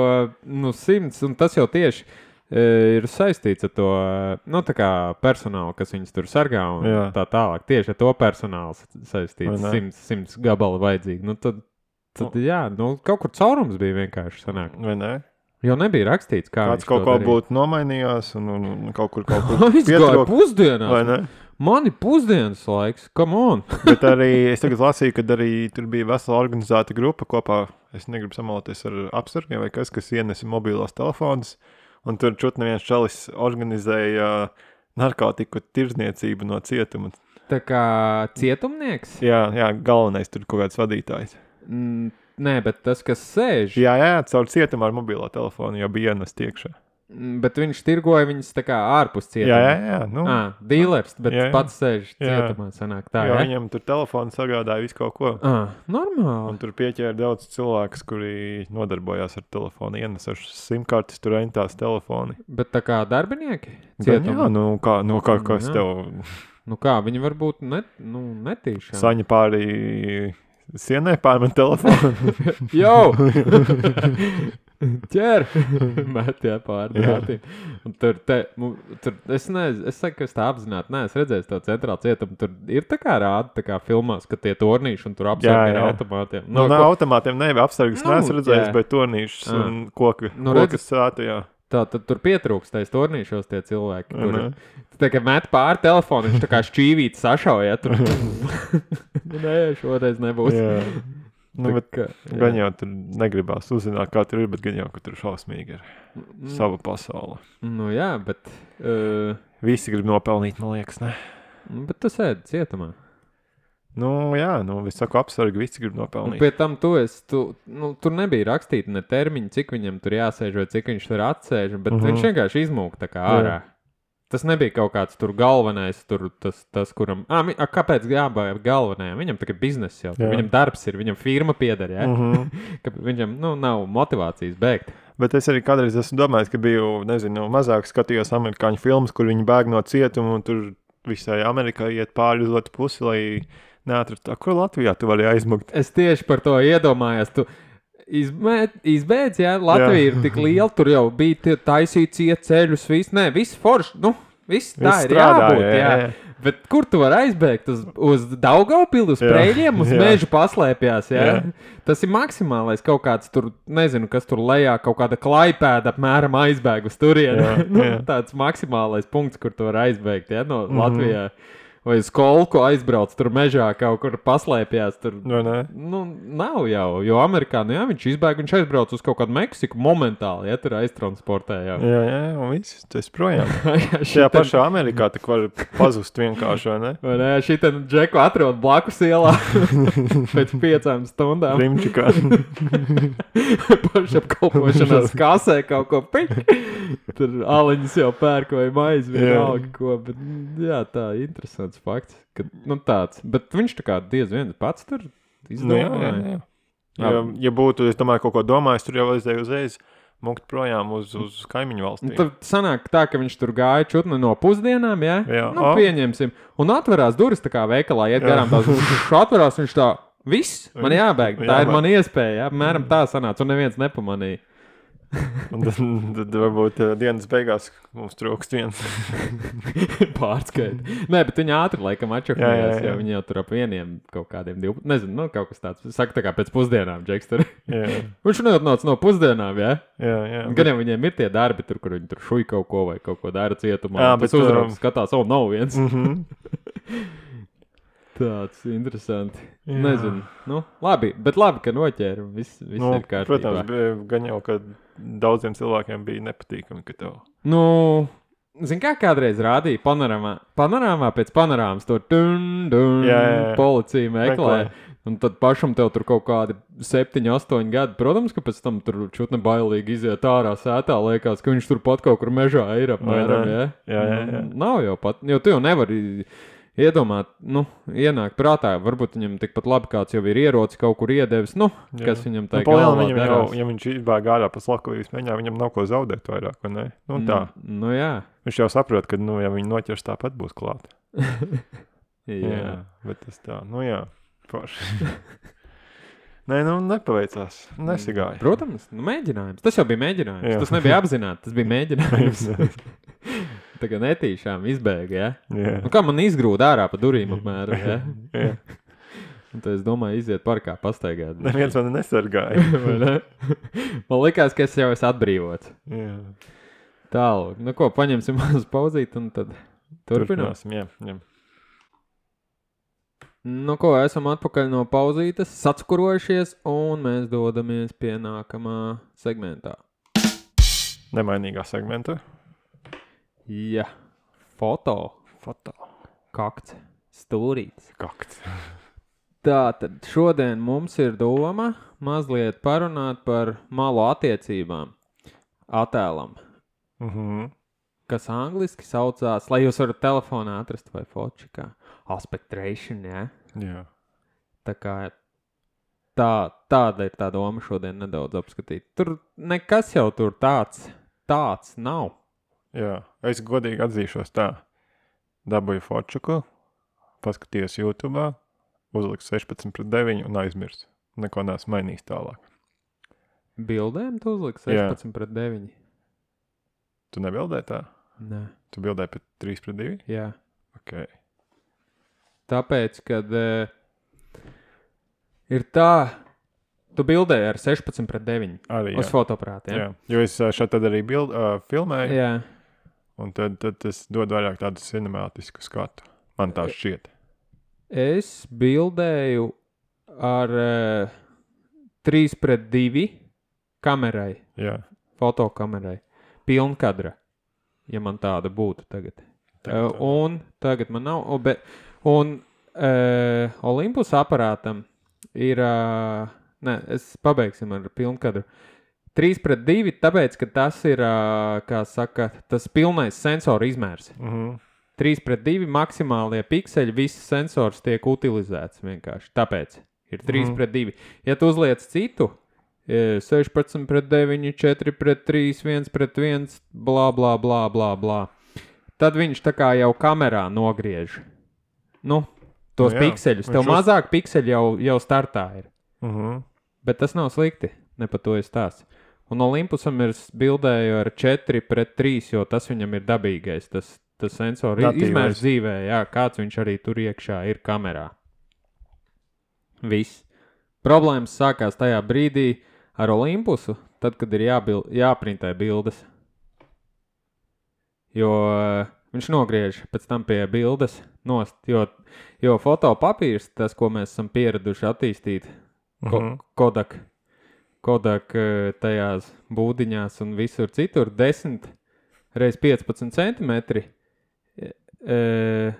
nu, simts, un tas jau tieši e, ir saistīts ar to e, nu, tā kā personālu, kas viņus tur sargā un
Jā.
tā tālāk. Tieši ar to personālu sa- saistīts
Vai ne?
simts, simts gabalu vajadzīgi. Nu, tad, tad, jā, nu, kaut kur caurums bija vienkārši sanāk.
Vai ne?
Jo nebija rakstīts, kā
Kāds
viņš
kaut
to
ko
darīja.
būtu nomainījās un, un, un kaut kur kaut kur
Viņš gāja
pietrūka. Vai
pusdienās.
ne?
Man ir pusdienas laiks, come on.
Bet arī es tagad lasīju, ka arī tur bija vesela organizēta grupa kopā. Es negribu samaloties ar apsargiem vai kas, kas ienesa mobilos telefonus. Un tur čut neviens čalis organizēja uh, narkotiku tirzniecību no cietuma.
Tā kā cietumnieks?
Jā, jā, galvenais tur kaut kāds vadītājs.
Mm, Nē, bet tas, kas sēž,
Jā, jā, caur cietumu ar mobilo telefonu jau bija ienes tiekšā.
Mm, Bet viņš tirgoja viņas tā kā ārpus
Jā, jā,
cietuma.
jā. Nu, jā,
Ah, dealers, bet jā,
Jā,
jā.
jā.
pats sēž
Jā.
cietumā. Sanāk, tā,
jā,
jā,
jā.
jā.
Viņam tur telefons sagādāja visu kaut ko.
Ah,
Un
normāli.
tur pieķēra daudz cilvēku, kuri nodarbojās ar telefonu, ienesuši simkartes, tur rentās telefoni.
Bet tā kā darbinieki
Gan Jā,
cietumā,
nu kā, nu kā kas
Jā.
tev
nu kā viņi var būt net, nu, netīši.
saņem pāri sienai, pārmet telefonu.
Jau! Ķer! Mētā pārdrāti. Un tur, te, mu- tur es nezinu, es saku, ka es tā apzināti neesmu redzējis to centrālu cietumu. Tur ir tā kā rāda, tā kā filmās, ka tie tornīši un tur apsēdi ar
jā. Nu,
automātiem. Nu,
No, no
ko-
automātiem nevis apsargs,
Nu,
nu, neesmu redzējis,
jā.
bet tonīšus
Jā.
un koki.
Nu,
Nu, koki sāta, jā.
Tā tad tur pietrūkst tais turnīšos tie cilvēki. Kur,
Mhm.
tā kā met pāri telefonu, viņš tā kā šķīvīt sašauja. Tur. Nu, Nē, šoreiz nebūs.
Jā. Nu, bet,
kā,
gan jau tur negribās uzzināt, kā tur ir, bet gan jau ka tur šausmīgi ir
Mm,
sava pasaule.
Nu, jā, bet, uh,
Visi grib nopelnīt, man liekas, ne?
nu, bet tu sēdi cietumā.
Nu, jā, nu, es saku, apsargi, visi grib
Un
nopelnīt.
pie tam tu esi, tu, nu, tur nebija rakstīta ne termiņa, cik viņam tur jāsēž vai cik viņš tur atsēž, bet uh
Mhm.
-huh. viņš vienkārši izmūka tā kā
Jā.
ārā. Tas nebija kaut kāds tur galvenais, tur, tas, tas, kuram. À, mi, a, kāpēc jābūt galvenajam? Viņam tā kā biznesa jau,
Jā.
jā. viņam darbs ir, viņam firma pieder, ja? uh
Mhm.
-huh. ka viņam nu, nav motivācijas bēgt.
Bet es arī kādreiz esmu domājis, ka biju, nezinu, mazāk skatījos amerikāņu filmas, kur viņi bēg no cietuma un tur visai Amerikai iet pāri uz otru pusi, lai neatrastu, kur Latvijā tu vari aizmukt.
Es tieši par to iedomājos. Tu... Izbeidz, ja Latvija jā.
Jā.
ir tik liela, tur jau bija tie taisīts, iet ceļus, viss, nē, viss forši. Nu, viss tā
Viss
ir
strādā,
jābūt.
jā,
Jā, jā.
jā.
Bet kur tu vari aizbēgt? Uz, uz Daugaupili, uz
Jā,
Prēļiem, uz
jā.
meža paslēpjās. Jā.
Jā.
Jā. Tas ir maksimālais kaut kāds tur, nezinu, kas tur lejā, kaut kāda klaipēda apmēram aizbēg uz turieni.
Jā,
Nu,
jā. Mhm.
Tāds maksimālais punkts, kur tu vari aizbēgt jā, no mm -hmm. Latvijā. Vai uz kolku aizbrauc tur mežā, kaut kur paslēpjās. Tur.
Vai ne?
Nu, nav jau, jo Amerikā nu, jā, viņš izbēga, viņš aizbrauca uz kaut kādu Meksiku momentāli, ja tur aiztransportējā.
Jā, jā, jā, un viss, tas projām. Šajā pašā Amerikā tu vari pazust vienkārši, vai ne?
Vai nē, šī tam džeku atrod blakus ielā pēc piecām stundām.
Rimčikā.
Pašapkalpošanās kasē kaut ko piņķi. Tur aliņas jau pērk vai maizi vienalga ko. Bet, mm, jā, tā ir interesants fakts. Ka, nu tāds. Bet viņš tā kā diez viens pats tur
Nu, jā, jā,
izdomāja.
jā. Ja, ja būtu, es domāju, kaut ko domājis, tur jau aizēju uzreiz mukt projām uz, uz kaimiņu
Nu,
valstīm.
Tad sanāk tā, ka viņš tur gāja čutni no pusdienām, jā?
Jā.
Nu,
O.
pieņemsim. Un atverās durvis tā kā veikalā, iet
Jā.
garām tās puses. Atverās viņš tā, viss, man jābēg. Tā
Jābēg.
ir mana iespēja, jā, apmēram tā sanāca, un neviens nepamanīja.
Un tad, tad varbūt eh, dienas beigās mums trūkst viens.
Pārskaita. Nē, bet viņi ātri laikam
Jā, jā,
atšķirās,
jā.
jo viņi jau tur ap vieniem kaut kādiem, div... nezinu, nu, kaut kas tāds. Saka, tā kā pēc pusdienām, Džeks. Tur.
jā,
Viņš neatnāca no pusdienām, jā.
jā, jā.
Gan jau viņiem ir tie darbi, tur, kur viņi tur šūj kaut ko vai kaut ko dara cietumā. Jā,
Jā,
bet
bet,
tur
um,
uzraugs skatās, oh, nav viens.
Mm -hmm.
Tāds interesants.
Jā.
Nezinu. Nu, labi, bet labi, ka noķēra. Viss, viss
nu,
ir kārtībā.
protams, bija, gan jau, ka daudziem cilvēkiem bija nepatīkami, ka tev.
Nu, zini, kā kādreiz rādīja panorāmā, panorāmā pēc panorāmas tur
Jā, jā, jā.
bija policija meklē.
Meklē.
Un tad pašam tev tur kaut kādi 7, 8 gadi. Protams, ka pēc tam tur čutni bailīgi iziet ārā sētā. Liekas, ka viņš tur pat kaut kur mežā ir apmēram.
Vai
Jā,
ne? Jā, jā, jā.
Nu, Nav jau pat, jo tu jau nevari. Iedomāt, nu, ienākt prātā, varbūt viņam tikpat labi kāds jau ir ierocis, kaut kur iedevis, nu,
Jā.
jā. kas viņam
Nu,
tā
Palielam,
galvā
viņam jau,
derās.
ja viņš izbēga ārā pa slakavības mēģinājumu, viņam nav ko zaudēt vairāk, vai ne? Nu, tā. Mm.
Nu, jā.
Viņš jau saprot, ka, nu, ja viņi noķers, tāpat būs klāt.
Jā. jā.
Bet tas tā, nu jā, forši. Nē, nu, nepaveicās. Nesigāja.
Protams, nu, mēģinājums. Tas jau bija mēģinājums.
Jā.
Jā. Tas nebija apzināti, tas bija mēģinājums. Tā kā netīšām izbēga. Ja?
jā.
Nu, kā man izgrūda ārā pa durvīm, apmēram. Ja?
jā.
Un Tad es domāju, iziet parkā, pastaigāt.
Neviens man nesargāja.
Vai ne? man liekas, ka es jau esmu atbrīvots.
jā.
Tālāk, nu ko, paņemsim mazu pauzīt un tad turpināsim.
Turpināsim, jā, jā.
Nu ko, esam atpakaļ no pauzītes, sacukurojušies un mēs dodamies pie nākamā segmentā.
Nemainīgā segmentā.
Jā, foto,
Foto.
kakts, stūrīts.
Kakts.
Tā tad šodien mums ir doma mazliet parunāt par malu attiecībām, attēlam,
Mm -hmm.
kas angļuiski saucās, lai jūs varat telefonā atrast vai fočikā. Aspektration, jā.
Jā.
Tā kā tā, tāda ir tā doma šodien nedaudz apskatīt. Tur nekas jau tur tāds, tāds nav.
jā. Es godīgi atzīšos tā. Dabūju fotčuku, paskatījos YouTube, uzliku 16 pret 9 un aizmirsu. Neko neesmu mainījis tālāk.
Bildēm tu uzliksi
Jā.
16 pret 9.
Tu nebildēji tā?
Nē,
Tu bildēji pret 3 pret 2?
jā.
Ok.
Tāpēc, kad uh, ir e, tā, Tu bildēji ar 16 pret 9
Arī,
uz
jā.
fotoaparātiem.
Jā. Jo es ā, šeit tad arī bild, uh, filmēju,
jā.
un tad, tad tas dod vairāk tādu cinemātisku skatu. Man tā šķiet.
Es bildēju ar uh, 3 pret 2 kamerai,
Jā,
fotokamerai, pilnkadra, ja man tāda būtu tagad. Uh,
Tagad
un tagad man nav. O, be, un uh, Olympus aparātam ir. Uh, nē, es pabeigsim ar pilnkadru. 3 pret 2, tāpēc, ka tas ir, uh, kā saka, tas pilnais sensora izmērs.
mm -hmm.
3 pret 2 maksimālie pikseli, viss sensors tiek utilizēts vienkārši. Tāpēc ir 3 mm.
Mhm.
pret 2. Ja tu uzliec citu, e, 16 pret 9, 4 pret 3, 1 pret 1, bla bla bla bla. bla. Tad viņš tā kā jau kamerā nogriež. Nu, tos
Nu
no
jā,
pikseļus.
viņš
Tev
uz-
mazāk pikseli jau, jau startā ir.
Mm -hmm.
Bet tas nav slikti. Ne par to es stāstu. Un Olympusam ir bildēju ar 4 pret 3, jo tas viņam ir dabīgais. Tas, tas sensors ir
Datīvais.
izmērs dzīvē, jā, kāds viņš arī tur iekšā ir kamerā. Viss. Problēmas sākās tajā brīdī ar Olympusu, tad, kad ir jābil, jāprintē bildes. Jo eh, viņš nogriež pēc tam pie bildes nost, jo, jo fotopapīrs, tas, ko mēs esam pieraduši attīstīt, Ko-
Mhm.
Kodak, Kodak eh, tajās būdiņās un visur citur 10 x 15 centimetri. e, e,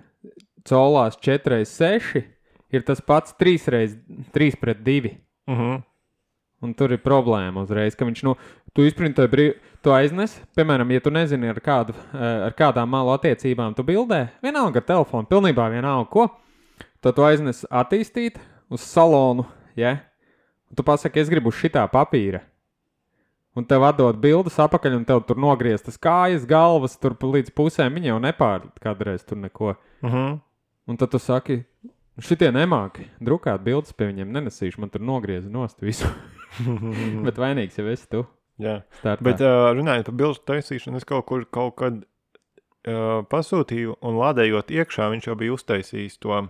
Colās 4 x 6 ir tas pats 3 x 3 pret 2.
Mm -hmm.
Un tur ir problēma uzreiz, ka viņš, nu, tu izprintēji brīvi, tu aiznes, piemēram, ja tu nezini, ar, kādu, eh, ar kādām malu attiecībām tu bildē, vienalga ar telefonu, pilnībā vienalga, ko, tad tu aiznes attīstīt uz salonu, ja? Un tu pasaki, es gribu uz šitā papīra. Un tev atdod bildes apakaļ, un tev tur nogrieztas kājas, galvas, tur līdz pusēm viņa jau nepārlīd kādreiz tur neko.
Mm -hmm.
Un tad tu saki, šitie nemāki drukāt bildes pie viņiem, nenesīšu, man tur nogriez nost visu. Bet vainīgs jau esi tu.
Jā,
startā.
bet uh, runājot par bilžu taisīšanu, es kaut kur kaut kad uh, pasūtīju, un lādējot iekšā, viņš jau bija uztaisījis to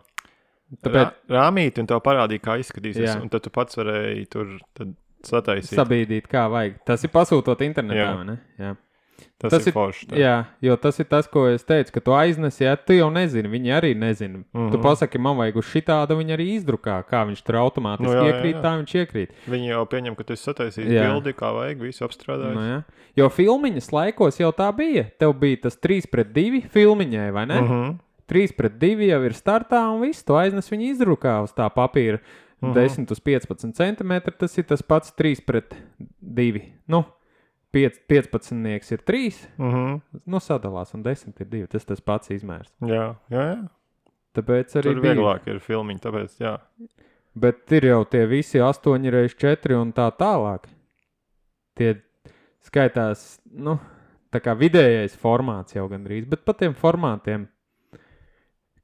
Tāpēc
Tāpēc... rāmīti un tev parādīja, kā izskatīsies.
Jā.
Un tad tu pats varēji tur tad sataisīt.
sabīdīt, kā vajag. Tas ir pasūtot internetā.
Jā.
vai ne? Jā.
Tas,
tas
tas
ir-
ir forši. tā.
Jā, jo tas ir tas, ko es teicu, ka tu aiznesi, ja tu jau nezini, viņi arī nezina. Mm -hmm. Tu
Mhm.
pasaki, man vajag uz šitādu, viņi arī izdrukā, kā viņš tur automātiski
Nu
no,
jā, jā,
iekrīt, jā, jā.
jā.
tā viņš iekrīt.
Viņi jau pieņem, ka tu esi sataisījis
Jā.
bildi, kā vajag, visu apstrādājis.
Nu, jā. jo filmiņas laikos jau tā bija. Tev bija tas 3 pret 2 filmiņai, vai ne? Mm -hmm.
Mhm.
3 pret 2 jau ir startā, un viss to aiznes viņa izdrukā uz tā papīra.
Mhm.
10 uz 15 centimetri tas ir tas pats 3 pret 2. Nu, 5, 15 ir 3,
Mhm.
nu, sadalās, un 10 ir 2. Tas tas pats izmērs.
Jā, jā, jā.
Tāpēc arī
Tur
bija.
vieglāk ir filmiņi, tāpēc jā.
Bet ir jau tie visi 8, 4 un tā tālāk. Tie skaitās, nu, tā kā vidējais formāts jau gandrīz, bet par tiem formātiem.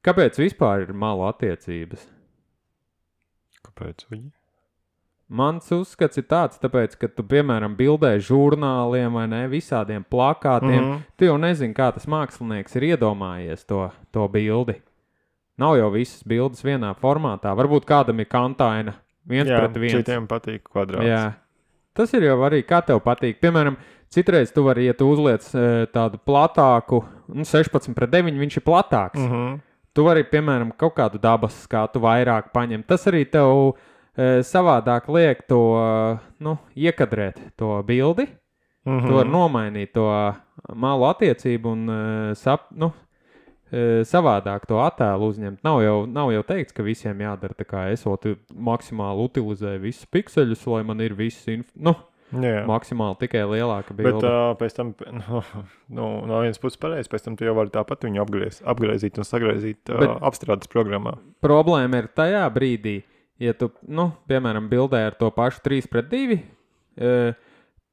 Kāpēc vispār ir malu attiecības?
Kāpēc? Uji?
Mans uzskats ir tāds, tāpēc, ka tu, piemēram, bildē žurnāliem vai ne, visādiem plakātiem. Mm -hmm.
Mhm.
Tu jau nezini, kā tas mākslinieks ir iedomājies to, to bildi. Nav jau visas bildes vienā formātā. Varbūt kādam ir kantaina viens
Jā,
pret viens.
citiem patīk kvadrāts.
Jā. Tas ir jau arī kā tev patīk. Piemēram, citreiz tu vari, ja tu uzliec eh, tādu platāku, nu, 16 pret 9, viņš ir platāks. Mm.
Mhm.
Tu vari, piemēram, kaut kādu dabas skatu vairāk paņemt. Tas arī tev e, savādāk liek to e, nu, iekadrēt, to bildi. Mm.
Mhm.
Tu vari nomainīt to malu attiecību un e, sap, nu, e, savādāk to attēlu uzņemt. Nav jau, nav jau teikts, ka visiem jādara tā, kā es to maksimāli utilizēju, visus pikseļus, lai man ir viss, inf... nu,
Jā.
maksimāli tikai lielāka
Bet
bilde.
uh, pēc tam, nu, nu, no vienas puses, pareizi, pēc tam tu jau vari tāpat viņu apgriez, apgriezīt un sagraizīt uh,
Bet-
apstrādes programmā.
problēma ir tajā brīdī, ja tu, nu, piemēram, bildē ar to pašu 3 pret 2, e,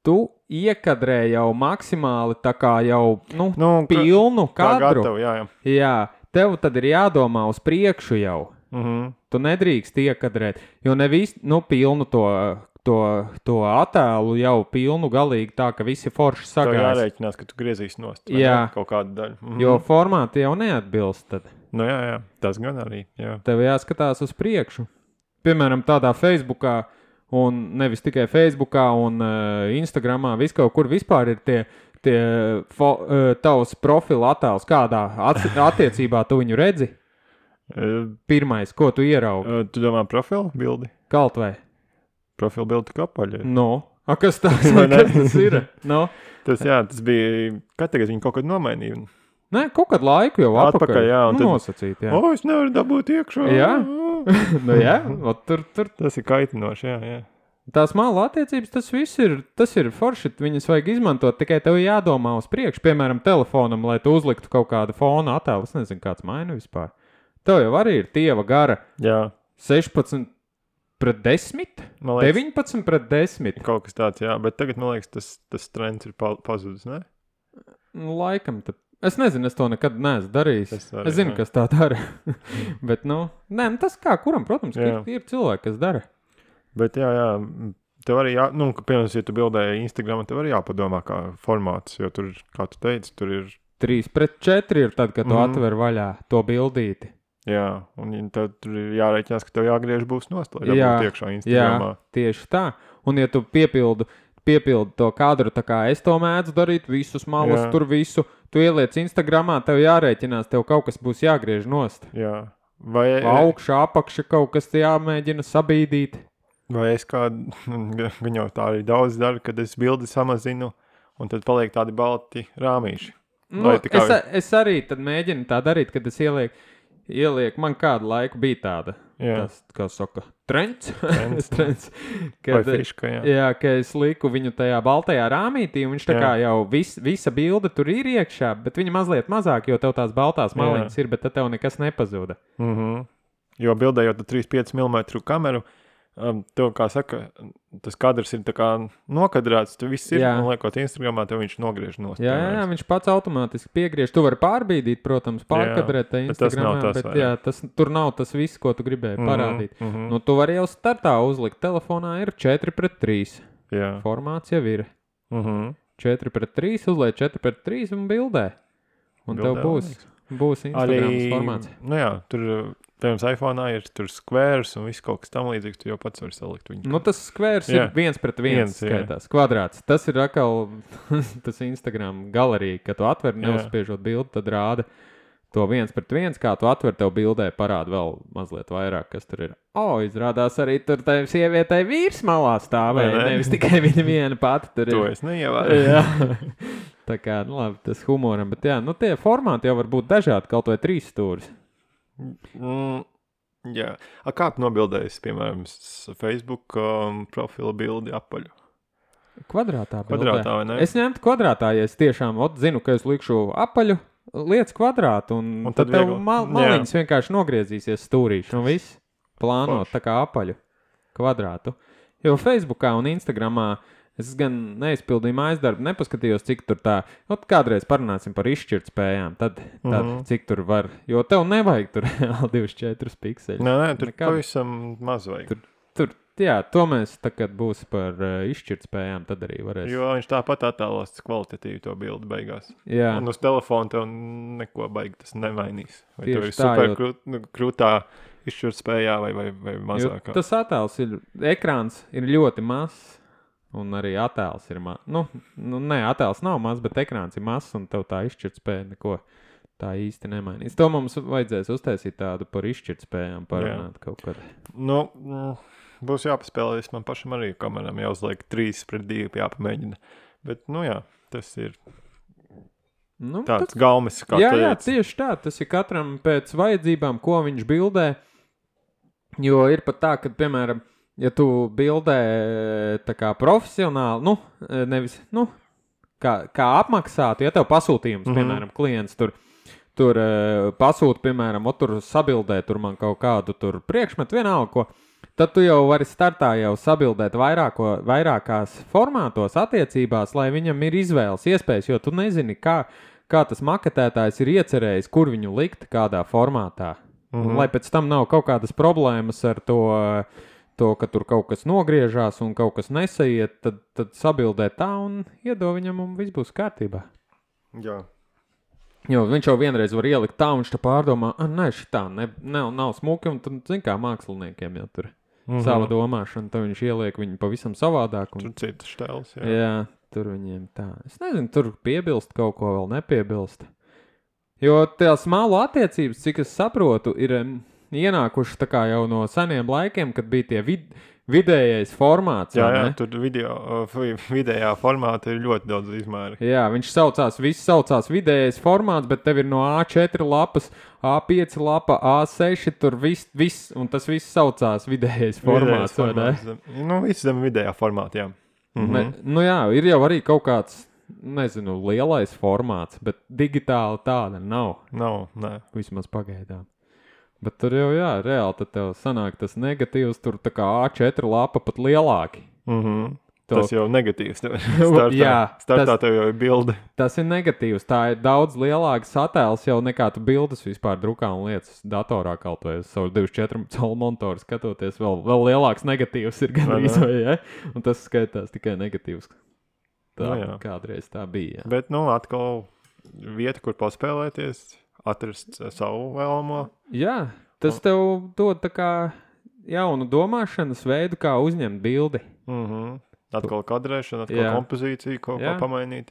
tu iekadrē jau maksimāli tā kā jau, nu, nu
Nu, kā-
pilnu
kā
kadru.
gatavu, jā, jā.
Jā, tev tad ir jādomā uz priekšu jau.
Mhm.
Tu nedrīkst iekadrēt, jo nevis, nu, pilnu to, to, to attēlu jau pilnu galīgi tā, ka visi forši
Tā ir
sagājas.
jārēķinās, ka tu griezīs nost vai
Jā.
ne, kaut kādu daļu. Mhm.
Jo formāti jau neatbilst tad.
Nu, jā, jā, tas gan arī. Jā.
tev jāskatās uz priekšu. Piemēram, tādā Facebookā Un nevis tikai Facebook, un uh, Instagram, vis kaut kur vispār ir tie, tie fo, uh, tavs profila attēls, kādā at attiecībā tu viņu redzi.
Uh,
Pirmais, ko tu ieraugi,
uh, tu domā, profilu bildi?
kaut vai?
Profilu bildi tik apaļ. ir.
No. A, kas, tas,
Vai ne?
kas tas ir? Nu, No.
Tas, jā, tas bija. Kā tagad viņi kaut kad nomainīja?
Nē, kaut kādu laiku jau
Atpakaļ,
atpakaļ.
jā, un
nu,
tad- Oh,
nosacīt, jā.
O, es nevaru dabūt iekšā.
Jā. nu, jā, ot tur, tur
Tas ir kaitinoši. Jā, jā.
tās māla attiecības, tas viss ir, tas ir forši. Viņas vajag izmantot tikai tev jādomā uz priekšu, piemēram, telefonam, lai tu uzliktu kaut kādu fona attēlu. Es nezinu, kāds maina vispār. Tev jau arī ir tieva gara
jā.
16 pret 10,
Man liekas,
19 pret 10.
Kaut kas tāds, jā, bet tagad man liekas, tas, tas trends ir pa- pazudis. Ne?
Nu, laikam, tad. Es nezinu, es to nekad neesmu darījis.
Es
Es,
arī
arī, es zinu,
ne.
ne. kas tā dara. Bet, nu, nē, nu, tas kā kuram, protams, ir,
Jā.
ir cilvēki, kas dara.
Bet, jā, jā, m, tev arī, jā, nu, ka, piemēram, ja tu bildēji Instagram, tev arī jāpadomā, kā formāts, jo tur, kā tu teici, tur ir,
3 pret 4 ir tad, kad tu
Mhm.
mm. atver vaļā to bildīti.
jā, un ja tev tur ir jārēķinās, ka tev jāgriež būs nostāja,
Jā,
jābūt iekšā Instagramā.
Tieši tā. Un, ja tu piepildi, piepildi to kadru, tā kā es to mēdzu darīt, visus malus,
Jā.
Jā. tur visu, tu ieliec Instagramā, tev jārēķinās, tev kaut kas būs jāgriež nost.
Jā. jā. Vai,
Augšā, apakšā kaut kas jāmēģina sabīdīt.
vai es kādu, gan jau tā arī daudz daru, kad es bildi samazinu, un tad paliek tādi balti rāmīši.
Nu,
Vai tā kā
es, a- es arī tad mēģinu tā darīt, kad es ielieku, ielieku man kādu laiku bija tāda,
Jā,
tas, kā saka, trends.
Trends.
trends
vai
kad, eh,
fiška, jā.
jā, ka es lieku viņu tajā baltajā rāmītī, un viņš tā
Jā.
kā jau vis, visa bilde tur ir iekšā, bet viņa mazliet mazāk, jo tev tās baltās
Jā.
maliņas ir, bet tad tev nekas nepazuda.
Mm -hmm. Jo bildējot ar 3,5 mm kameru, um, tev, kā saka, tas kadrs ir tā kā nokadrēts. Tu viss ir,
Jā.
un liekot, Instagramā tev viņš nogriež no
Jā, jā, jā, viņš pats automātiski piegriež. Tu vari pārbīdīt, protams, pārkadrēt tajā
bet tas nav
Instagramā,
tas,
bet
vai ne?
jā, tas, Mhm. tur nav tas viss, ko tu gribēji parādīt.
Mm -hmm.
Nu, tu vari jau startā uzlikt, telefonā ir 4 pret 3.
jā.
Formāts jau ir
Mm -hmm.
4 pret 3, uzliek 4 pret 3 un bildē. Un
Bildē,
tev būs, būs Instagrams formāts.
nu, jā, tur, piemēram, iPhone ir tur skvērs un viss kaut kas tam līdzīgs. Tu jau pats vari salikt viņu.
Nu, tas skvērs
Jā.
ir viens pret viens,
Viens, jā.
viens skaitās, kvadrāts. Tas ir atkal tas Instagram galerija, ka tu atver,
Jā.
neuzspiežot bildi, tad rāda to viens pret viens, kā tu atver tev bildē, parāda vēl mazliet vairāk, kas tur ir. O, izrādās arī tur tai sievietei vīrs malā stāvēja,
Vai ne?
ne? nevis tikai viņa viena pati tur
To
ir.
es neievēroju.
Jā. Tā kā, nu labi, tas humoram, bet jā, nu tie formāti jau var būt dažādi, kaut vai trīs stūris.
Mm, jā. A, kā tu nobildējies, piemēram, s- Facebook um, profilu bildi apaļu?
Kvadrātā. bildē.
Kvadrātā vai ne?
Es ņemtu kvadrātā, ja es tiešām ot, zinu, ka es likšu apaļu lietas kvadrātu, un,
Un
un
tad
tad tev
viegli.
mal,
Jā.
maliņas vienkārši nogriezīsies stūrīši, un viss plānot
Forši.
tā kā apaļu kvadrātu. Jo Facebookā un Instagramā es gan neizpildīju mājas darbu, nepaskatījos, cik tur tā, nu, kādreiz parunāsim par izšķirtspējām, tad, tad mm
Mhm.
-hmm. cik tur var, jo tev nevajag tur 24 pikseļus.
Nē, nē, tur
Nekad.
pavisam maz vajag.
Tur- Tur, jā, to mēs, tā, kad būs par uh, izšķirtspējām, tad arī varēsim.
Jo viņš tāpat attēlās kvalitatīvi to bildi beigās. Jā.
Jā,
Un uz telefona tev neko baigi tas nemainīs. Vai tev
Tieši
ir
tā,
super
jo-
krūt, nu, krūtā izšķirtspējā vai, vai, vai
Jo
mazākā.
Tas attēls ir. Ekrāns ir ļoti mazs. Un arī attēls ir mazs. Nu, nu, nē, attēls nav mazs, bet ekrāns ir mazs un tev tā izšķirtspēja neko tā īsti nemainīs. To mums vajadzēs uztaisīt tādu par izšķirtspējām, parunāt kaut kad.
Nu, mm, būs jāpaspēlējas man pašam arī kameram, jau uzliek 3 pret 2 jāpamēģina. Bet, nu jā, tas ir
Nu,
tāds galmis, kā
jā,
tu
jā,
teici.
tieši tā. Tas ir katram pēc vajadzībām, ko viņš bildē. Jo ir pat tā, ka, piemēram, ja tu bildē e, tā kā profesionāli, nu, nevis nu, kā, kā apmaksātu, ja tev pasūtījums, mm
Mhm.
-hmm. piemēram, klients tur. Tur eh, pasūta, piemēram, o, tur sabildē tur man kaut kādu tur priekšmetu, vienalga, ko. Tad tu jau vari startā jau sabildēt vairāko, vairākās formātos, attiecībās, lai viņam ir izvēles iespējas, jo tu nezini, kā, kā tas maketētājs ir iecerējis, kur viņu likt, kādā formātā. Mm
Mhm.
-hmm. Lai pēc tam nav kaut kādas problēmas ar to, to, ka tur kaut kas nogriežās un kaut kas nesaiet, tad, tad sabildē tā un iedod viņam un viss būs kārtībā.
Jā.
Jo viņš jau vienreiz var ielikt tā, un viņš tā pārdomā, ah, nē, šī tā ne, nav, nav smuka, un tad, zin kā, māksliniekiem jau tur
Mhm.
mm -hmm. sava domāšana, tad viņš ieliek viņu pavisam savādāk. Un,
Tur citas stēles.
jā. jā, tur viņiem tā. Es nezinu, tur piebilst kaut ko vēl nepiebilst. Jo tās malu attiecības, cik es saprotu, ir em, ienākušas tā kā jau no seniem laikiem, kad bija tie vid vidējais formāts.
Jā,
vai
jā,
ne?
tur video, uh, vi- vidējā formātā ir ļoti daudz izmēru.
Jā, viņš saucās, viss saucās vidējais formāts, bet tev ir no A4 lapas, A5 lapa, A6, tur viss, vis, un tas viss saucās vidējais
Vidējais
formāts. vai ne?
formāts zem- Nu, viss zem vidējā formātā, jā. Mhm.
Ne, nu jā, ir jau arī kaut kāds, nezinu, lielais formāts, bet digitāli tāda nav,
Nav, nē.
vismaz pagaidām. Bet tur jau, jā, reāli tad tev sanāk tas negatīvs, tur tā kā A4 lapa pat lielāki.
Mhm.
To-
Tas jau negatīvs. tev- Startā,
jā,
startā
tas-
tev jau ir bilde.
Tas ir negatīvs. Tā ir daudz lielāka satēls jau nekā tu bildes vispār drukā un lietas datorā kaut vai uz savu 24 cm monitoru skatoties. Vēl, vēl lielāks negatīvs ir gan
Vai ne?
arī. Ja? Un tas skaitās tikai negatīvs. Tā
Nu jā.
kādreiz tā bija. Jā.
Bet, nu, atkal vieta, kur paspēlēties, atrast eh, savu vēlamo.
jā,
Nu.
tas tev dod tā kā jaunu domāšanas veidu, kā uzņemt bildi.
Mhm. Atkal kadrēšana, atkal
Jā.
kompozīcija, kaut
Jā.
ko pamainīt.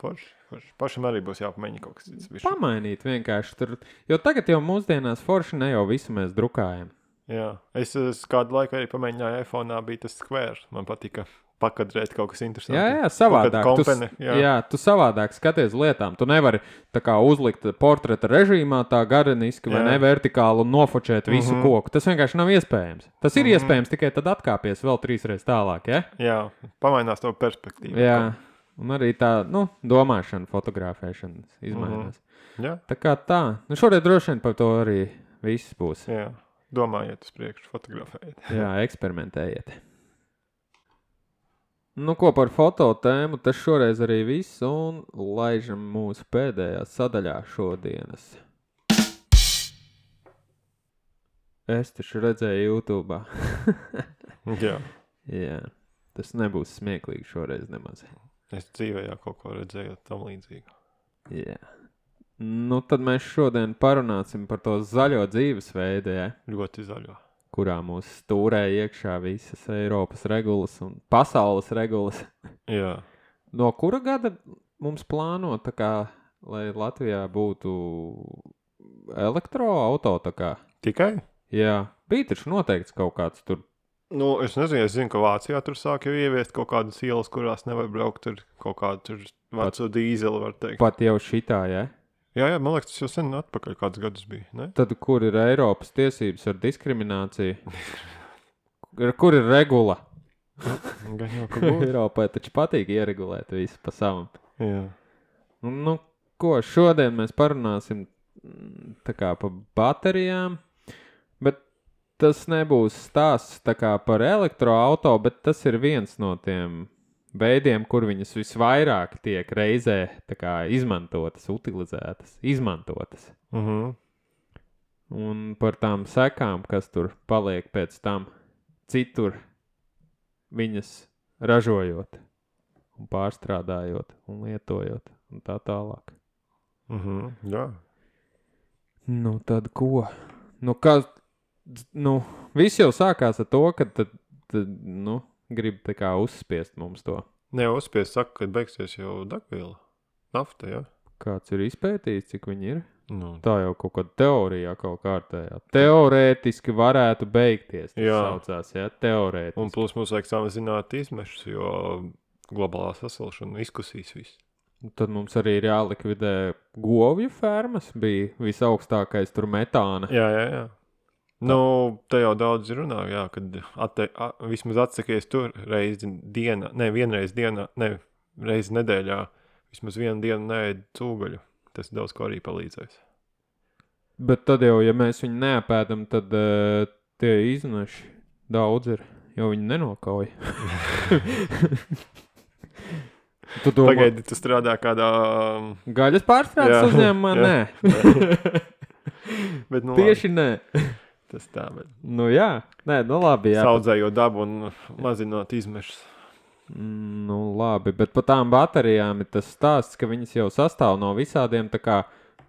Forši, forši. Pašam arī būs jāpamaina kaut kas cits. bišķi.
Pamainīt vienkārši tur. Jo tagad jau mūsdienās forši ne jau visu mēs drukājam.
Jā, es, es kādu laiku arī pamēģināju, iPhone bija tas skvērs. Man patika pakadrēt kaut kas interesants.
Jā, jā, savādāk. Tu,
Kompene,
s-
Nu, jā.
jā, tu savādāk skaties lietām. Tu nevari tā kā uzlikt portretu režīmā, tā gariniski vai
Jā. Mhm.
ne vertikāli un nofočēt visu mm -hmm. koku. Tas vienkārši nav iespējams. Tas ir mm -hmm. iespējams tikai tad atkāpies vēl trīs reizes tālāk. Ja?
jā, pamainās to perspektīvu.
Jā, un arī tā nu, domāšana, fotografēšana
Mhm.
izmainās. Mm -hmm.
jā,
Tā kā tā, nu šoreiz droši vien par to arī viss būs.
jā. domājiet, uz priekšu, fotografējiet.
Jā, eksperimentējiet. Nu, ko par fototēmu, tas šoreiz arī viss, un laižam mūsu pēdējā sadaļā šodienas. Es taču redzēju, YouTube.
Jā,
Jā, tas nebūs smieklīgi šoreiz nemaz.
es dzīvē jau kaut ko redzēju tam līdzīgu.
Jā. Nu, tad mēs šodien parunāsim par to zaļo dzīvesveidu, ja,
Ļoti zaļo.
kurā mūs stūrē iekšā visas Eiropas regulas un pasaules regulas.
Jā,
No kura gada mums plāno, tā kā, lai Latvijā būtu elektroautorāta?
tikai.
Jā, bija taču noteikts kaut kāds tur.
Nu, es nezinu, es zinu, ka Vācijā tur sāk jau ieviest kaut kādas ielas, kurās nevar braukt ar kaut kādu tur veco dīzeli, var teikt.
Pat jau šitā, ja?
Jā, jā, man liekas, tas jau sen atpakaļ kāds gadus bija. Ne?
Tad kur ir Eiropas tiesības ar diskrimināciju? Kur- Kur ir regula?
Gan jau kaut ko.
Eiropai taču patīk ieregulēt visu pa savam.
Jā.
Nu, ko šodien mēs parunāsim mm, tā kā par baterijām, bet tas nebūs stāsts tā kā par elektroautorātu, bet tas ir viens no tiem veidiem, kur viņas visvairāk tiek reizē tā kā, izmantotas, utilizētas, izmantotas.
Mhm.
Un par tām sekām, kas tur paliek pēc tam citur, viņas ražojot, un pārstrādājot un lietojot un tā tālāk.
Mhm. Jā.
Nu, tad ko? Nu, kā, nu, viss jau sākās ar to, ka tad, tad, nu, grib tā kā uzspiest mums to.
Nē, uzspiest, saka, ka beigsies jau degviela. Nafta, jā.
Kāds ir izpētījis, cik viņi ir?
Nu,
Tā jau kaut kāda teorijā, kaut kā tādā. Teorētiski varētu beigties. Tas jā.
Jā.
saucās, jā, teorētiski.
un plus mums vajag samazināt izmešus, jo globālā sasilšana izkusīs visu.
Un Tad mums arī ir jālikvidē govju fermas, bija visaugstākais tur metāna.
Jā, jā, jā. Nu, te jau daudz runā, jā, kad atte, a, vismaz atsakies tur reizi dienā, ne vienreiz dienā, ne reizi nedēļā, vismaz vienu dienu neēd cūgaļu. Tas daudz ko arī palīdzēs.
Bet tad jau, ja mēs viņu neapēdam, tad uh, tie izneši daudz ir. Jo viņi nenokauj. tu domā, Pagaid.
Pagaidiet, tas strādā kādā. um,
gaļas pārstrādes
Jā,
uzņēmumā?
jā.
Nē,
Bet, nu, labi,
tieši nē.
tas tā, bet
Nu jā, nē, nu labi. Jā,
audzējot dabu un mazinot izmešus.
Mm, Nu, labi, bet par tām baterijām ir tas stāsts, ka viņas jau sastāv no visādiem tā kā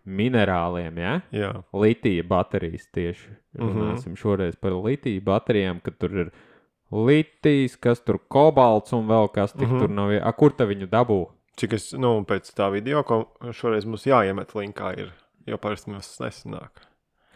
minerāliem, ja?
Jā,
litija baterijas tieši.
Mhm.
Runāsim mm -hmm. šoreiz par litija baterijām, kad tur ir litijas, kas tur kobalts un vēl kas tik mm
Mhm.
-hmm. tur nav. A, kur tā viņu dabū?
cik es, nu, pēc tā video, ko šoreiz mums jāiemet linkā, ir, jo parasti mums tas nesanāk.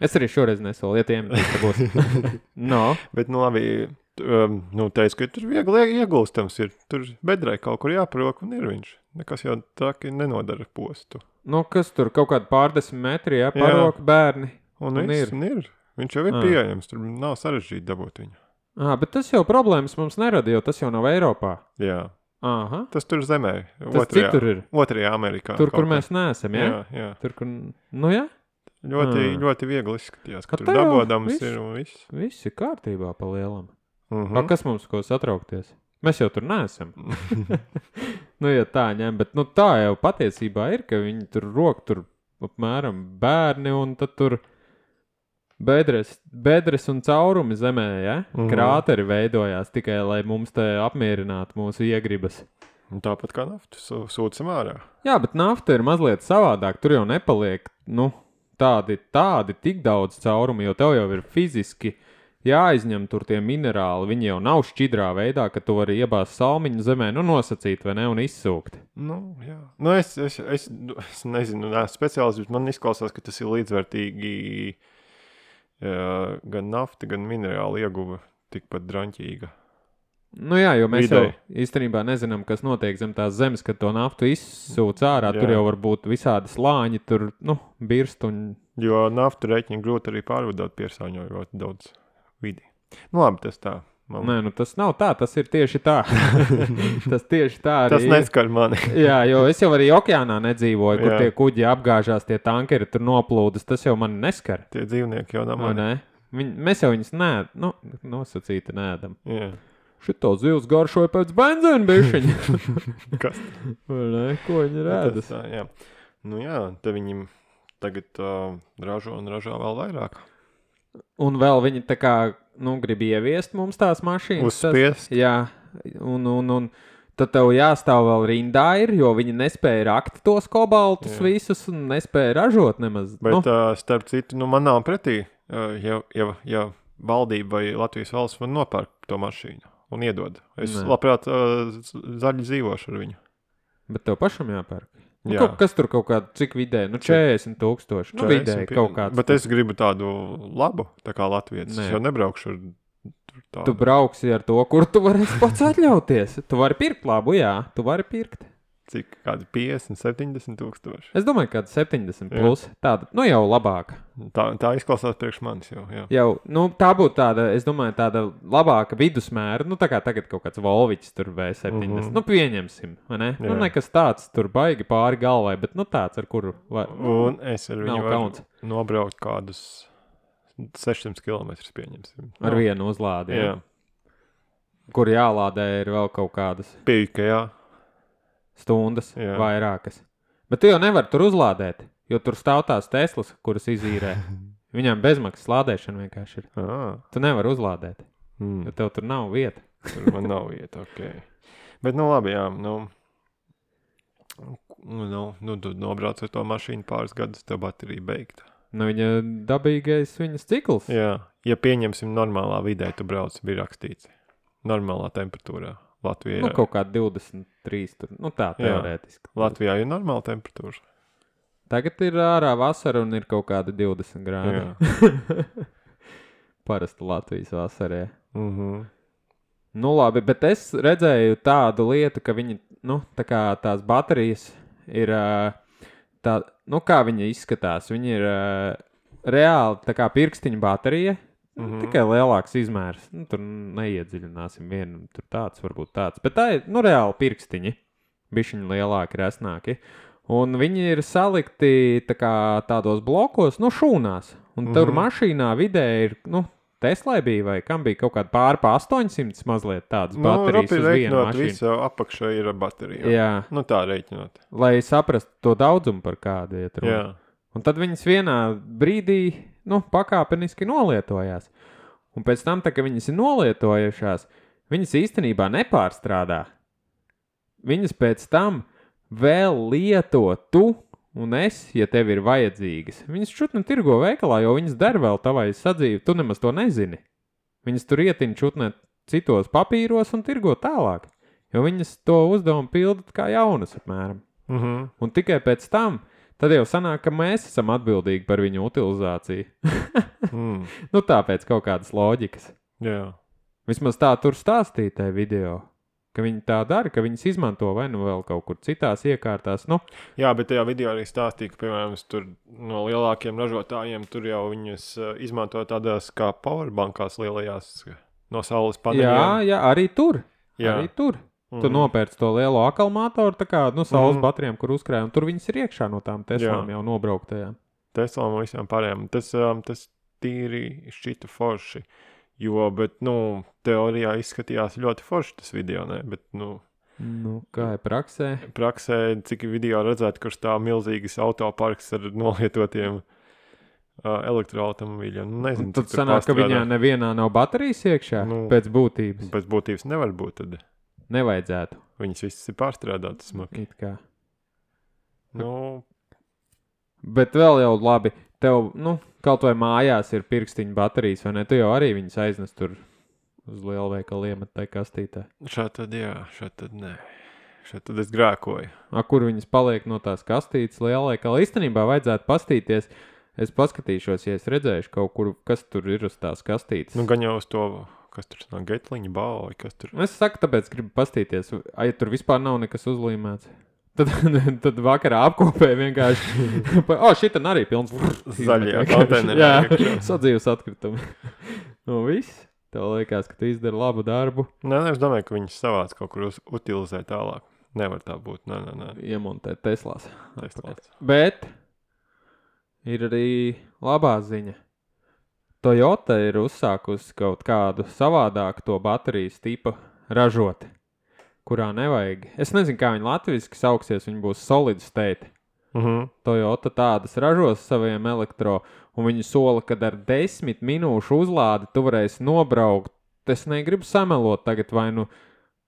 Es arī šoreiz nesaku, lietiem tas būs. no.
Bet, nu, labi, tu, um, nu, teicu, ka tur viegli ie- iegūstams ir, tur bedrē kaut kur jāprok un ir viņš. Nekas jau tā, ka nenodara postu.
Nu, kas tur kaut kādi pārdesmit metri, ja parok bērni.
Un,
Un
un,
ir.
viss, un ir. Viņš jau ir
Ah.
pieejams, tur nav sarežģīti dabūt viņu.
Ah, bet tas jau problēmas mums nerada, jo tas jau nav Eiropā.
Jā,
Aha.
tas tur zemē,
Tas cik tur
otrajā,
ir?
otrajā Amerikā.
Tur,
kaut
kur mēs neesam, ja?
Jā, jā.
Tur, kur. Nu, jā,
Ļoti,
Ah.
ļoti viegli izskatījās, ka
Ar
tur
tev
dabodams
viss.
ir un viss.
viss ir kārtībā pa lielam.
Mhm.
Mm. Kas mums ko satraukties? Mēs jau tur neesam. nu, ja tā ņem, bet nu, tā jau patiesībā ir, ka viņi tur rok tur apmēram bērni un tad tur. Bedres, bedres un caurumi zemē, ja? Mm
Mhm.
-hmm. Krāteri veidojās tikai, lai mums te apmierinātu mūsu iegribas.
Un Tāpat kā naftu sū- sūcam ārā.
Jā, bet nafta ir mazliet savādāk. Tur jau nepaliek nu, tādi, tādi tik daudz caurumu, jo tev jau ir fiziski jāizņem tur tie minerāli. Viņi jau nav šķidrā veidā, ka tu vari iebāzt salmiņu zemē, nu nosacīt vai ne, un izsūkt.
Nu, jā. Nu, es, es, es, nu, es nezinu, neesmu speciālists, bet man izklausās, ka tas ir līdzvērtīgi. Jā, gan nafta, gan minerāli ieguva tikpat drāmīga.
Nu jā, jo mēs Videi.
Videi.
jau īstenībā nezinām, kas notiek zem tās zemes, kad to naftu izsūc ārā. Jā.
Jā.
Tur jau var būt visādi slāņi, tur nu, birst un
Jo naftu rēķinu grūti arī pārvadāt, piesārņojot daudz vidi. Nu, labi, tas tā. Man,
Nē, nu tas nav tā, tas ir tieši tā. tas tieši tā arī
tas
ir.
neskar mani.
Jā, jo es jau arī okeānā nedzīvoju, kur
Jā.
tie kuģi apgāžās, tie tankeri tur noplūdes. Tas jau man neskar.
Tie dzīvnieki jau nav
vai
mani.
ne? Viņ, mēs jau viņus nē, nu, nosacīti nēdam.
Jā.
Šito zivs garšoja pēc benzīna bišķiņa.
Kas Nu,
Vai ne? Ko viņi
tas
rēdas?
tā? Jā, nu, jā te viņiem tagad uh, ražo un ražo vēl vairāk.
Un vēl viņi tā kā, nu, grib ieviest mums tās mašīnas.
Uzspiest.
Tas, jā, un, un, un tad tev jāstāv vēl rindā, ir, jo viņi nespēja rakt tos kobaltus
Jā.
jā. visus un nespēja ražot nemaz.
Bet,
nu,
nu. uh, starp citu, nu, man nav pretī, uh, ja, ja, ja valdība vai Latvijas valsts man nopērk to mašīnu un iedod. Es
Nē.
Nē. labprāt uh, z- zaļi dzīvošu ar viņu.
Bet tev pašam jāpērk. Nu,
Jā.
kaut, kas tur kaut kāda, cik vidēji, nu 40 tūkstoši. Nu,
40
vidēji
pie-
kaut kāds.
Bet es gribu tādu labu, tā kā Latvijas.
Nē.
Es jau nebraukšu ar tur
Tu
tādu.
brauksi ar to, kur tu vari pats atļauties. Tu vari pirkt labu, jā, tu vari pirkt.
Cik kādi 50, 70 tūkstoši.
Es domāju, ka 70
Jā.
plus tāda, nu jau labāka.
Tā, tā izklausās priekš manis jau. Jā.
Jau, nu, tā būtu tāda, es domāju, tāda labāka vidusmēra. Nu, tā kā tagad kaut kāds Volvičs tur V70. Mm -hmm.
Mhm.
Nu, pieņemsim, vai ne? Nu,
Jā.
nekas tāds tur baigi pāri galvai, bet nu tāds, ar kuru var.
Un es ar
Nav
viņu varu
kauns.
nobraukt kādus 600 km. Pieņemsim.
Ar
Nu,
vienu uzlādi, jā.
Jā,
Jā. kur jālādē ir vēl kaut kādas
pieeja, jā.
stundas, jā.
Jā.
vairākas. Bet tu jau nevari tur uzlādēt, jo tur stāv tās Teslas, kuras izīrē. Viņām bezmaksas lādēšana vienkārši ir.
Ah,
Tu nevari uzlādēt,
mm.
jo tev tur nav vieta.
Tur man nav vieta, ok. Bet, nu, labi, jā, nu. Nu, nu, nu tu nobrauc ar to mašīnu pāris gadus, tev baterija beigta.
Nu, viņa dabīgais viņas cikls. Jā.
Jā, ja pieņemsim, normālā vidē tu brauc, bija rakstīts. Normālā temperatūrā. Latvijā,
Nu, kaut kā 23, tur, nu tā
Jā.
teorētiski.
Latvijā ir normāla temperatūra.
Tagad ir ārā vasara un ir kaut kādi 20 grādi.
Jā.
Parasti Latvijas vasarā.
Mm -hmm.
Nu, labi, bet es redzēju tādu lietu, ka viņi, nu, tā kā tās baterijas ir, ā, tā, nu, kā viņi izskatās. Viņi ir ā, reāli tā kā pirkstiņa baterija, mm -hmm.
Mhm.
tikai lielāks izmērs. Nu, tur neiedziļināsim vienu, tur tāds varbūt tāds. Bet tā ir, nu, reāli pirkstiņi, bišķiņi lielāki, resnāki. Un viņi ir salikti tā kā, tādos blokos, nu, šūnās. Un tur mm
Mhm.
-hmm. mašīnā vidē ir, nu, Teslai bija vai kam bija kaut kāda pārpa 800 mazliet tādas
Nu,
baterijas
Rupi
uz vienu
rēķinot,
mašīnu.
visa apakšā ir baterija.
Jā,
Nu, tā rēķinot.
lai saprastu to daudzumu, par kādu iet runa.
Jā.
Un tad viņas vienā brīdī nu, pakāpeniski nolietojās. Un pēc tam, tā, kad viņas ir nolietojušās, viņas īstenībā nepārstrādā. Viņas pēc tam vēl lietotu un es, ja tev ir vajadzīgas. Viņas čutni tirgo veikalā, jo viņas der vēl tavai sadzīvi, tu nemaz to nezini. Viņas tur ietin čutni citos papīros un tirgo tālāk, jo viņas to uzdevumu pilda kā jaunas apmēram.
Mm -hmm.
Un tikai pēc tam, tad jau sanāk, ka mēs esam atbildīgi par viņu utilizāciju.
mm.
Nu, tāpēc kaut kādas loģikas.
Jā,
Vismaz tā tur stāstīja tajā video, ka viņi tā dara, ka viņas izmanto vai nu vēl kaut kur citās iekārtās. Nu,
Jā, bet tajā video arī stāstīja, ka, piemēram, es tur no lielākiem ražotājiem tur jau viņas eh, izmanto tādās kā powerbankās lielajās eh, no saules
jā,
paneļiem.
jā, arī tur. Jā.
Jā.
Arī tur.
Mhm.
Tu nopērci to lielo akumulātoru, tā kā nu, saules mm.
Mhm.
baterijām, kur uzkrājām. Tur viņas ir iekšā no tām Teslām jau nobrauktajām.
Teslām un visām pārējām. Tas, um, tas tīri šķita forši. Jo, bet, nu, teorijā izskatījās ļoti forši tas video, ne? bet, nu,
Nu, kā ir praksē?
praksē, cik video redzēt, kurš tā milzīgas autoparks ar nolietotiem uh, elektroautomobīļiem. Nu, nezinu,
Un tad
cik tur
sanāk, ka
pastrādā.
viņā nevienā nav baterijas iekšā nu,
Nu.
pēc būtības.
Pēc būtības nevar būt. Tad.
Nevajadzētu.
Viņas visas ir pārstrādātas smagi.
it kā.
Nu,
Bet vēl jau labi, tev, nu, kaut vai mājās ir pirkstiņa baterijas, vai ne? Tu jau arī viņas aiznes tur uz lielveikalu iemet tajā kastītē.
šādi tad jā, šādi tad nē. Šādi tad es grēkoju.
A, kur viņas paliek no tās kastītes lielveikalā? Īstenībā vajadzētu pastīties. Es paskatīšos, ja es redzēšu kaut kur, kas tur ir uz tās kastītes.
Nu, gan jau uz to, kas tur no getliņa balva vai kas tur.
Nu, Es saku, tāpēc gribu paskatīties, vai ja tur vispār nav nekas uzlīmēts. Tad, tad vakarā apkopēja vienkārši. pa- O, šī tam arī pilns.
Zaļie
Izmet vienkārši.
konteineri
Jā,
iekšā.
sadzīves atkritumi. Nu, viss. Tev liekas, ka tu izdari labu darbu,
Nē, nē, es domāju, ka viņas savāc kaut kur uz, utilizē tālāk. Nevar tā būt. Nē, nē, nē.
iemontēt Teslās.
Tas tāds.
Bet ir arī labā ziņa. Toyota ir uzsākusi kaut kādu savādāku to baterijas tipu ražot, kurā nevajag. Es nezinu, kā viņi latviešu sauksies, viņi būs solid state.
Mhm.
Toyota tādas ražos saviem elektro, un viņi sola, ka ar desmit minūšu uzlādi tu varēsi nobraukt. Es negribu samelot tagad vai nu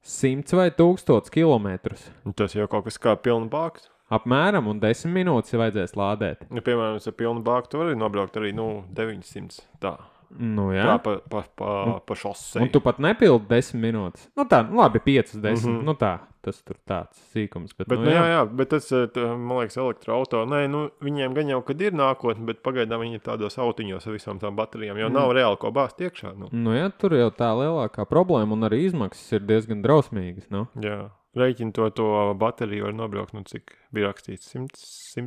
simts vai tūkstots kilometrus.
Un Tas jau kaut kas kā pilna bāks.
Apmēram, un desmit minūtes vajadzēs lādēt.
Nu, piemēram, ar pilnu bāku tu vari nobraukt arī nu, 900. Tā,
Nu, jā.
tā pa, pa, pa, pa šosei.
Un tu pat nepildi desmit minūtes. Nu, tā, nu, labi, piecas, desmit. Mm -hmm.
Mhm.
Nu, tā, tas tur tāds sīkums. Bet, bet
Bet, nu, jā, jā, bet tas, eh, tā, man liekas, elektroautorāts. Nē, nu, viņiem gan jau, kad ir nākotne, bet pagaidām viņi ir tādos autiņos ar visām tām baterijām. Jau mm. nav reāli ko bāzt iekšā. Nu.
Nu, jā, tur jau tā lielākā problēma, un arī izmaksas ir diezgan drausmīgas. Nu.
Jā. Rēķini to, to bateriju var nobraukt, nu, cik bija rakstīts, 100,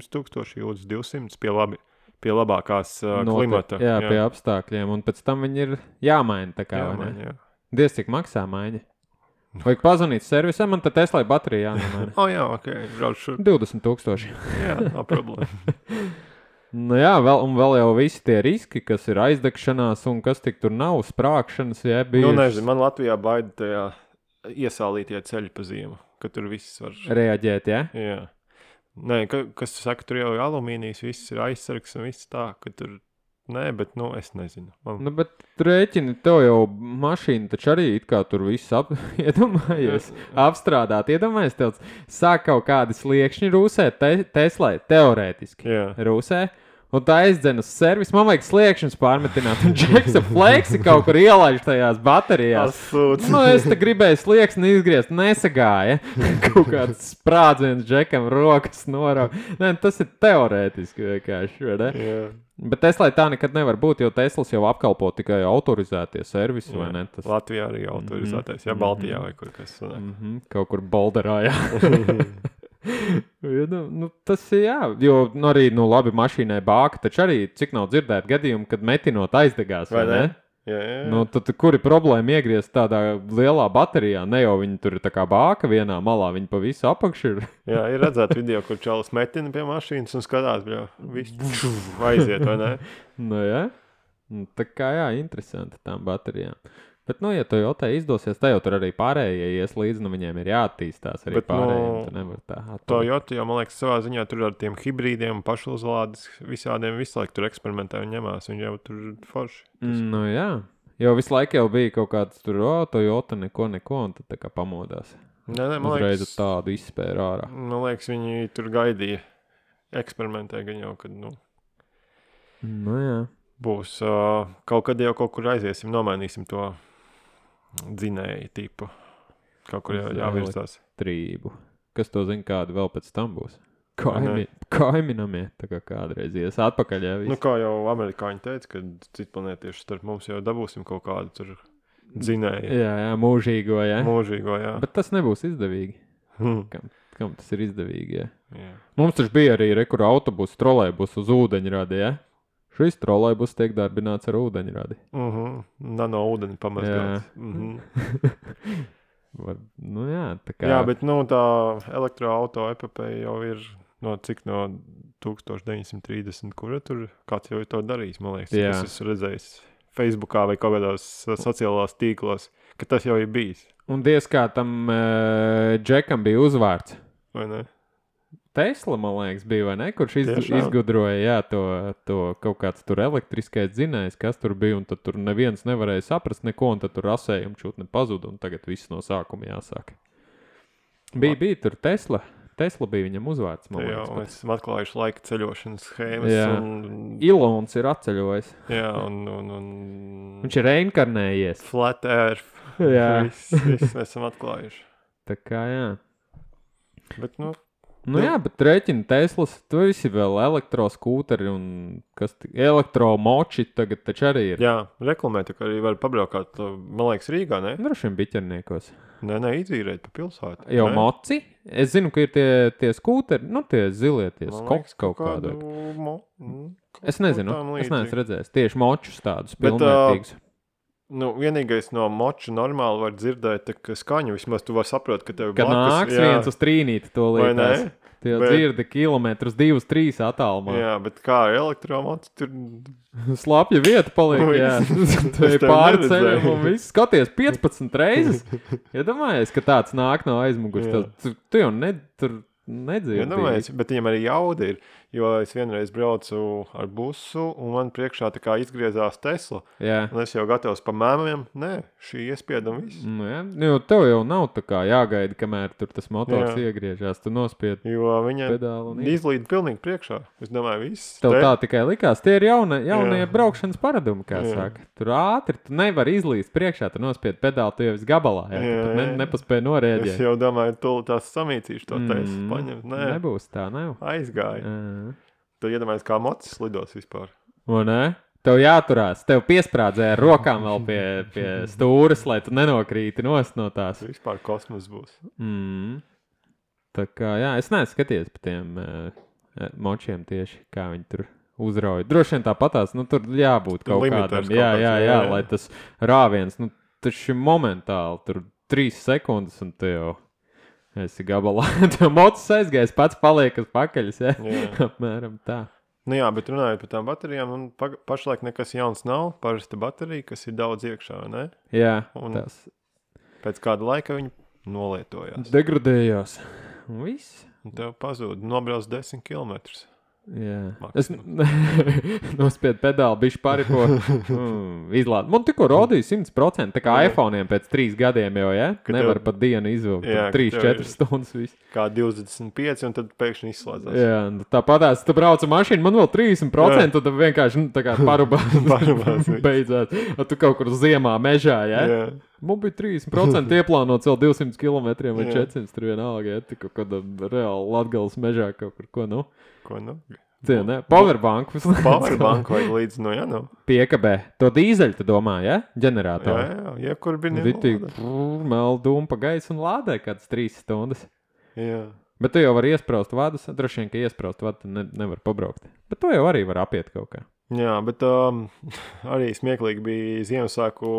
100 tūkstoši, jūdzes 200 pie, labi, pie labākās uh,
Notiek-
klimata.
jā, pie apstākļiem, un pēc tam viņi ir jāmaina. tā Kā,
jā,
vai ne?
man, jā.
Diez cik maksā maiņa. Vajag pazvanīt servisam, man tad Tesla baterija jānomaina.
Oh, jā, ok, brauc šur.
20,000.
Jā, nav problēma.
Nu jā, vēl, un vēl jau visi tie riski, kas ir aizdegšanās, un kas tik tur nav, sprākšanas, ja bija.
nu, nezinu, man Latvijā baida tajā iesālītie ceļi pa ziemu, ka tur viss var.
Reaģēt, ja?
Jā. Nē, ka, kas tu saka, tur jau ir alumīnijas, viss ir aizsargs un viss tā, ka tur. Nē, bet, nu, es nezinu. Man...
Nu, bet rēķini tev jau mašīna taču arī it kā tur viss ap... iedomājies. Apstrādāt, iedomājies, tev sāk kaut kādi sliekšņi rūsēt te Teslai, teorētiski.
Jā.
Rūsē. Un tā aizdzen uz servisu. Man vajag sliekšņus pārmetināt. Un džeksa fleksi kaut kur ielaiž tajās baterijās.
Asūts.
Nu, es te gribēju slieksni izgriezt, nesagāja. Kaut kāds sprādziens džekam, rokas norauga. Nē, tas ir teorētiski vienkārši. vai ne?
Jā.
Bet Tesla tā nekad nevar būt, jo Teslas jau apkalpo tikai autorizētie servisi, vai
Jā.
ne? Tas Mm-hmm.
Latvijā arī autorizētais, ja Baltijā vai kur kas cits.
mm -hmm, kaut kur Balderā. jā. Ja, nu, nu, tas ir jā, jo nu, arī nu, labi mašīnai bāka, taču arī cik nav dzirdēti gadījumi, kad metinot aizdegās. Vai
Vai
ne?
ne? Jā, jā. jā.
Nu, tad, kur ir problēma iegriezt tādā lielā baterijā? Ne jau viņi tur ir tā kā bāka vienā malā, viņi pa visu apakšu ir.
jā, ir redzēts video, kur čalis metina pie mašīnas un skatās, kā viņš aiziet. vai ne?
Nu, jā. Nu, Tā kā jā, interesanti tām baterijām. Bet, nu, ja to jau tā izdosies, tad jau tur arī pārējie ies līdzi, nu viņiem ir jāattīstās arī
Bet, nu,
pārējiem. No... Tu nevar tā
To
atpalikt.
jūtu, jo man liekas, savā ziņā tur ar tiem hibrīdiem, pašuzlādes, visādiem visu laiku tur eksperimentē un ņemās. Viņi jau tur forši.
Mm, Nu, jā. Jo visu laiku jau bija kaut kāds tur, o, to jūta, neko, neko, un tad tā kā pamodās.
Nē, nē, man
Uzreiz
liekas,
liekas... tādu izspēru ārā.
Man liekas, viņi tur gaidīja. eksperimentē gan jau, kad nu,
Nu, jā.
būs uh, kaut kad jau kaut kur aiziesim, nomainīsim to dzinēju tipu. Kaut kur jā,
Uz
jāvirzās.
Trību. Kas to zina, kāda vēl pēc tam būs?
Vai
Kaimi, kaimiņamie, tā kā kādreiz ies atpakaļ. Jā,
Nu,
nu,
kā jau amerikāņi teica, ka citplanētieši starp mums jau dabūsim kaut kādu tur dzinēju.
jā, jā, mūžīgo, jā.
Mūžīgo, jā.
Bet tas nebūs izdevīgi.
Hmm,
Kam tas ir izdevīgi? Jā?
jā.
Mums taču bija arī rekur autobusu trolēbus uz ūdeņradi. Ja? Šis trolēbus tiek darbināts ar ūdeņradi.
Mm -hmm. Nano ūdeni pamazgāts.
Jā.
Mm -hmm.
Var, nu, jā, tā kā
Jā, bet nu, tā elektroautorāta epopeja jau ir no cik no 1930, kura tur kāds jau ir to darījis. Man liekas,
Jā.
tas esmu redzējis Facebookā vai kaut kādos so- sociālās tīklos, ka tas jau ir bijis.
Un diez kā tam uh, Džekam bija uzvārds.
vai ne?
Tesla, man liekas, bija vai ne, kurš iz,
Tiešām?
izgudroja jā, to, to kaut kāds tur elektriskais dzinējs, kas tur bija. Un tad tur neviens nevarēja saprast neko, un tad tur rasējumi čūtni pazuda. Un tagad viss no sākuma jāsāk. Bija, bija tur Tesla. Tesla bija viņam uzvārds.
Te
man
Jau,
liekas, pat.
mēs esam atklājuši laika ceļošanas schēmas.
Jā.
Un,
Ilons ir atceļojis.
jā, un, un, un
Viņš ir reinkarnējies.
flat earth.
Jā.
Viss, viss mēs esam atklājuši.
Tā kā jā.
Bet, nu,
Nu,
Nu.
jā, bet rēķina Teslas, tu visi vēl elektroskūteri un kas tik elektromoči tagad taču arī ir.
jā, reklamē tā kā arī var pabraukāt, man liekas, Rīgā. Ne,
Droši vien biķerniekos.
nē, nē izīrēt pa pilsētu.
Jau
ne?
moci? Es zinu, ka ir tie, tie skūteri, nu tie zilie, tie
Man
skoks
liekas,
kaut kāda. kāda.
mo- mm, kaut
Es
ko
nezinu,
tam
es
līdzīgu.
neesmu redzējis tieši močus tādus
Bet, uh, ā,
pilnvērtīgus.
Nu, vienīgais no moča normāli var dzirdēt tā, ka skaņu. Vismaz tu vari saprast, ka tev
Kad nāks jā. viens uz trīnīti, to
Vai
liekas.
ne?
Tie
Bet-
dzirdi kilometrus, divus, trīs attālumā.
Jā, bet kā elektromots tur
Slapja vieta paliek.
Ui,
Jā, tā
es
ir
tev
pārceļš.
neredzēju.
Un viss skaties 15 reizes. Iedomājies, ka tāds nāk no aizmugures.
Jā.
tad Tu, tu jau ne, tur nedzirdi.
iedomājas, bet viņam arī jauda ir. Jo es vienreiz braucu ar busu, un man priekšā tā kā izgriezās Tesla.
Jā.
Un es jau gatavs pa mēmiem. Nē, šī iespieda un viss.
Nu, jā, nu, jo tev jau nav tā kā jāgaida, kamēr tur tas motors
Jā.
iegriežās. Tu nospied
Jo viņa
pedāli un iz...
izlīd pilnīgi priekšā. Es domāju, viss.
Tev
Te-
tā tikai likās. Tie ir jauna, jaunie
Jā.
braukšanas paradumi, kā
Jā.
saka. Tur ātri tu nevari izlīst priekšā, tu nospied pedāli, tu jau esi gabalā. Jā, jā,
Jā,
jā. Ne,
jā.
nepaspēji
Es
norēģēt.
jau domāju, tu tās samīcīšu to teisu.
Mm,
Paņem, nē,
Nebūs tā, nav.
aizgāja.
Jā.
Tad iedomājieties, kā mocis lidos vispār.
Vai ne? Tev jāturās, tev piesprādzē ar rokām vēl pie, pie stūres, lai tu nenokrīti nost no tās.
Vispār kosmos būs.
Mm. Tā kā, jā, es neesmu skatījies par tiem uh, močiem tieši, kā viņi tur uzrauja. Droši vien tāpatās, nu tur jābūt
Tur
kaut
limitēs
kādam.
kaut
Jā, jā,
kāds, jā,
jā,
jā.
lai tas rāviens, nu tas ir momentāli, tur trīs sekundes un tu jau esi gabalā. Tev mocis aizgājis, pats paliek uz pakaļas, jā.
Jā.
Apmēram tā.
Nu jā, bet runājot par tām baterijām, nu, pag- pašlaik nekas jauns nav. Parasta baterija, kas ir daudz iekšā, vai ne?
Jā,
Un-
tas
Pēc kāda laika viņi nolietojās.
degradējās.
Nu,
Un Viss.
Un Tev pazūd, nobrauc 10 km.
Jā. Es
Maksimums.
nospiedu pedāli, biju pāripo. Mm, izlādi. Man tikko rodīja 100%. Tā kā
Jā.
iPhone pēc trīs gadiem jau, ja?
Ka
Nevar
tev-
pat dienu izvilkt.
Jā, ka
3-4
tev ir-
stundas. Visu.
Kā 25, un tad pēkšņi izslēdzas.
Jā, nu tāpatās, tu brauc ar mašīnu, man vēl 30%, tad vienkārši nu, tā kā
Parubās
parubās
viss.
beidzās. A Tu kaut kur ziemā mežā, jā? jā.
Jā.
Mums bija 30% ieplānots vēl 200 km vai
Jā.
400 tur vienalga, ja? Tik kaut kāda reāla Latgales mežā kaut kur, ko nu?
Ko nu?
Cienē, powerbank.
Powerbank vai līdz nu no Janam.
Piekabē. To dīzeļu tu domā, ja?
Jā,
Ģeneratoru.
jā, jā, kur bija
Vitīgi, meldūma pa gaisu un lādē kādas trīs stundas.
Jā,
Bet tu jau vari iesprāst vadus. Droši vien, ka iesprāst vadu tu ne, nevar pabraukt. Bet to jau arī var apiet kaut kā.
jā bet um, arī smieklīgi bija Ziemassvētku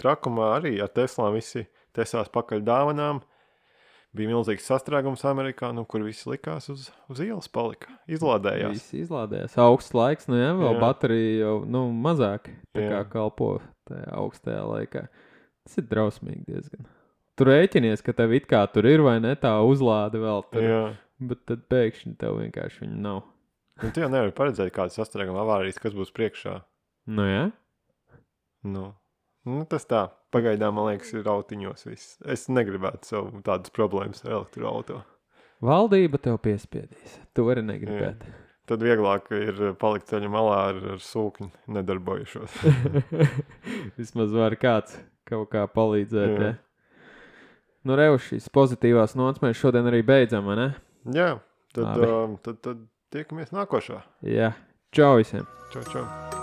trakumā. Arī ar Teslām visi tesās pakaļ dāvanām. Bija milzīgs sastrēgums Amerikā, nu, kur viss likās uz, uz ielas, palika izlādējās.
Viss izlādējās. Augsts laiks, nu jā, vēl
Jā.
baterija jau nu, mazāk tā kā
Jā.
kalpo tajā augstajā laikā. Tas ir drausmīgi diezgan. Tur rēķinies, ka tev it kā tur ir vai ne tā uzlāde vēl tur. Jā.
Jā,
Bet tad pēkšņi tev vienkārši viņa nav.
nu, tu jau nevari paredzēt, kāda sastrēguma avārijas, kas būs priekšā.
Nu jā.
Nu. Nu, tas tā, pagaidām, man liekas, ir autiņos viss. Es negribētu sev tādas problēmas ar elektroautorātu.
Valdība tev piespiedīs. To arī negribētu.
Tad vieglāk ir palikt ceļu malā ar, ar sūkni nedarbojušos.
Vismaz var kāds kaut kā palīdzēt.
Jā.
Ja? Nu, Reuš, šīs pozitīvās nots mēs šodien arī beidzam, vai ne?
Jā, tad,
Labi.
um, tad, tad tiekamies nākošā.
Jā, čau visiem!
Čau, čau.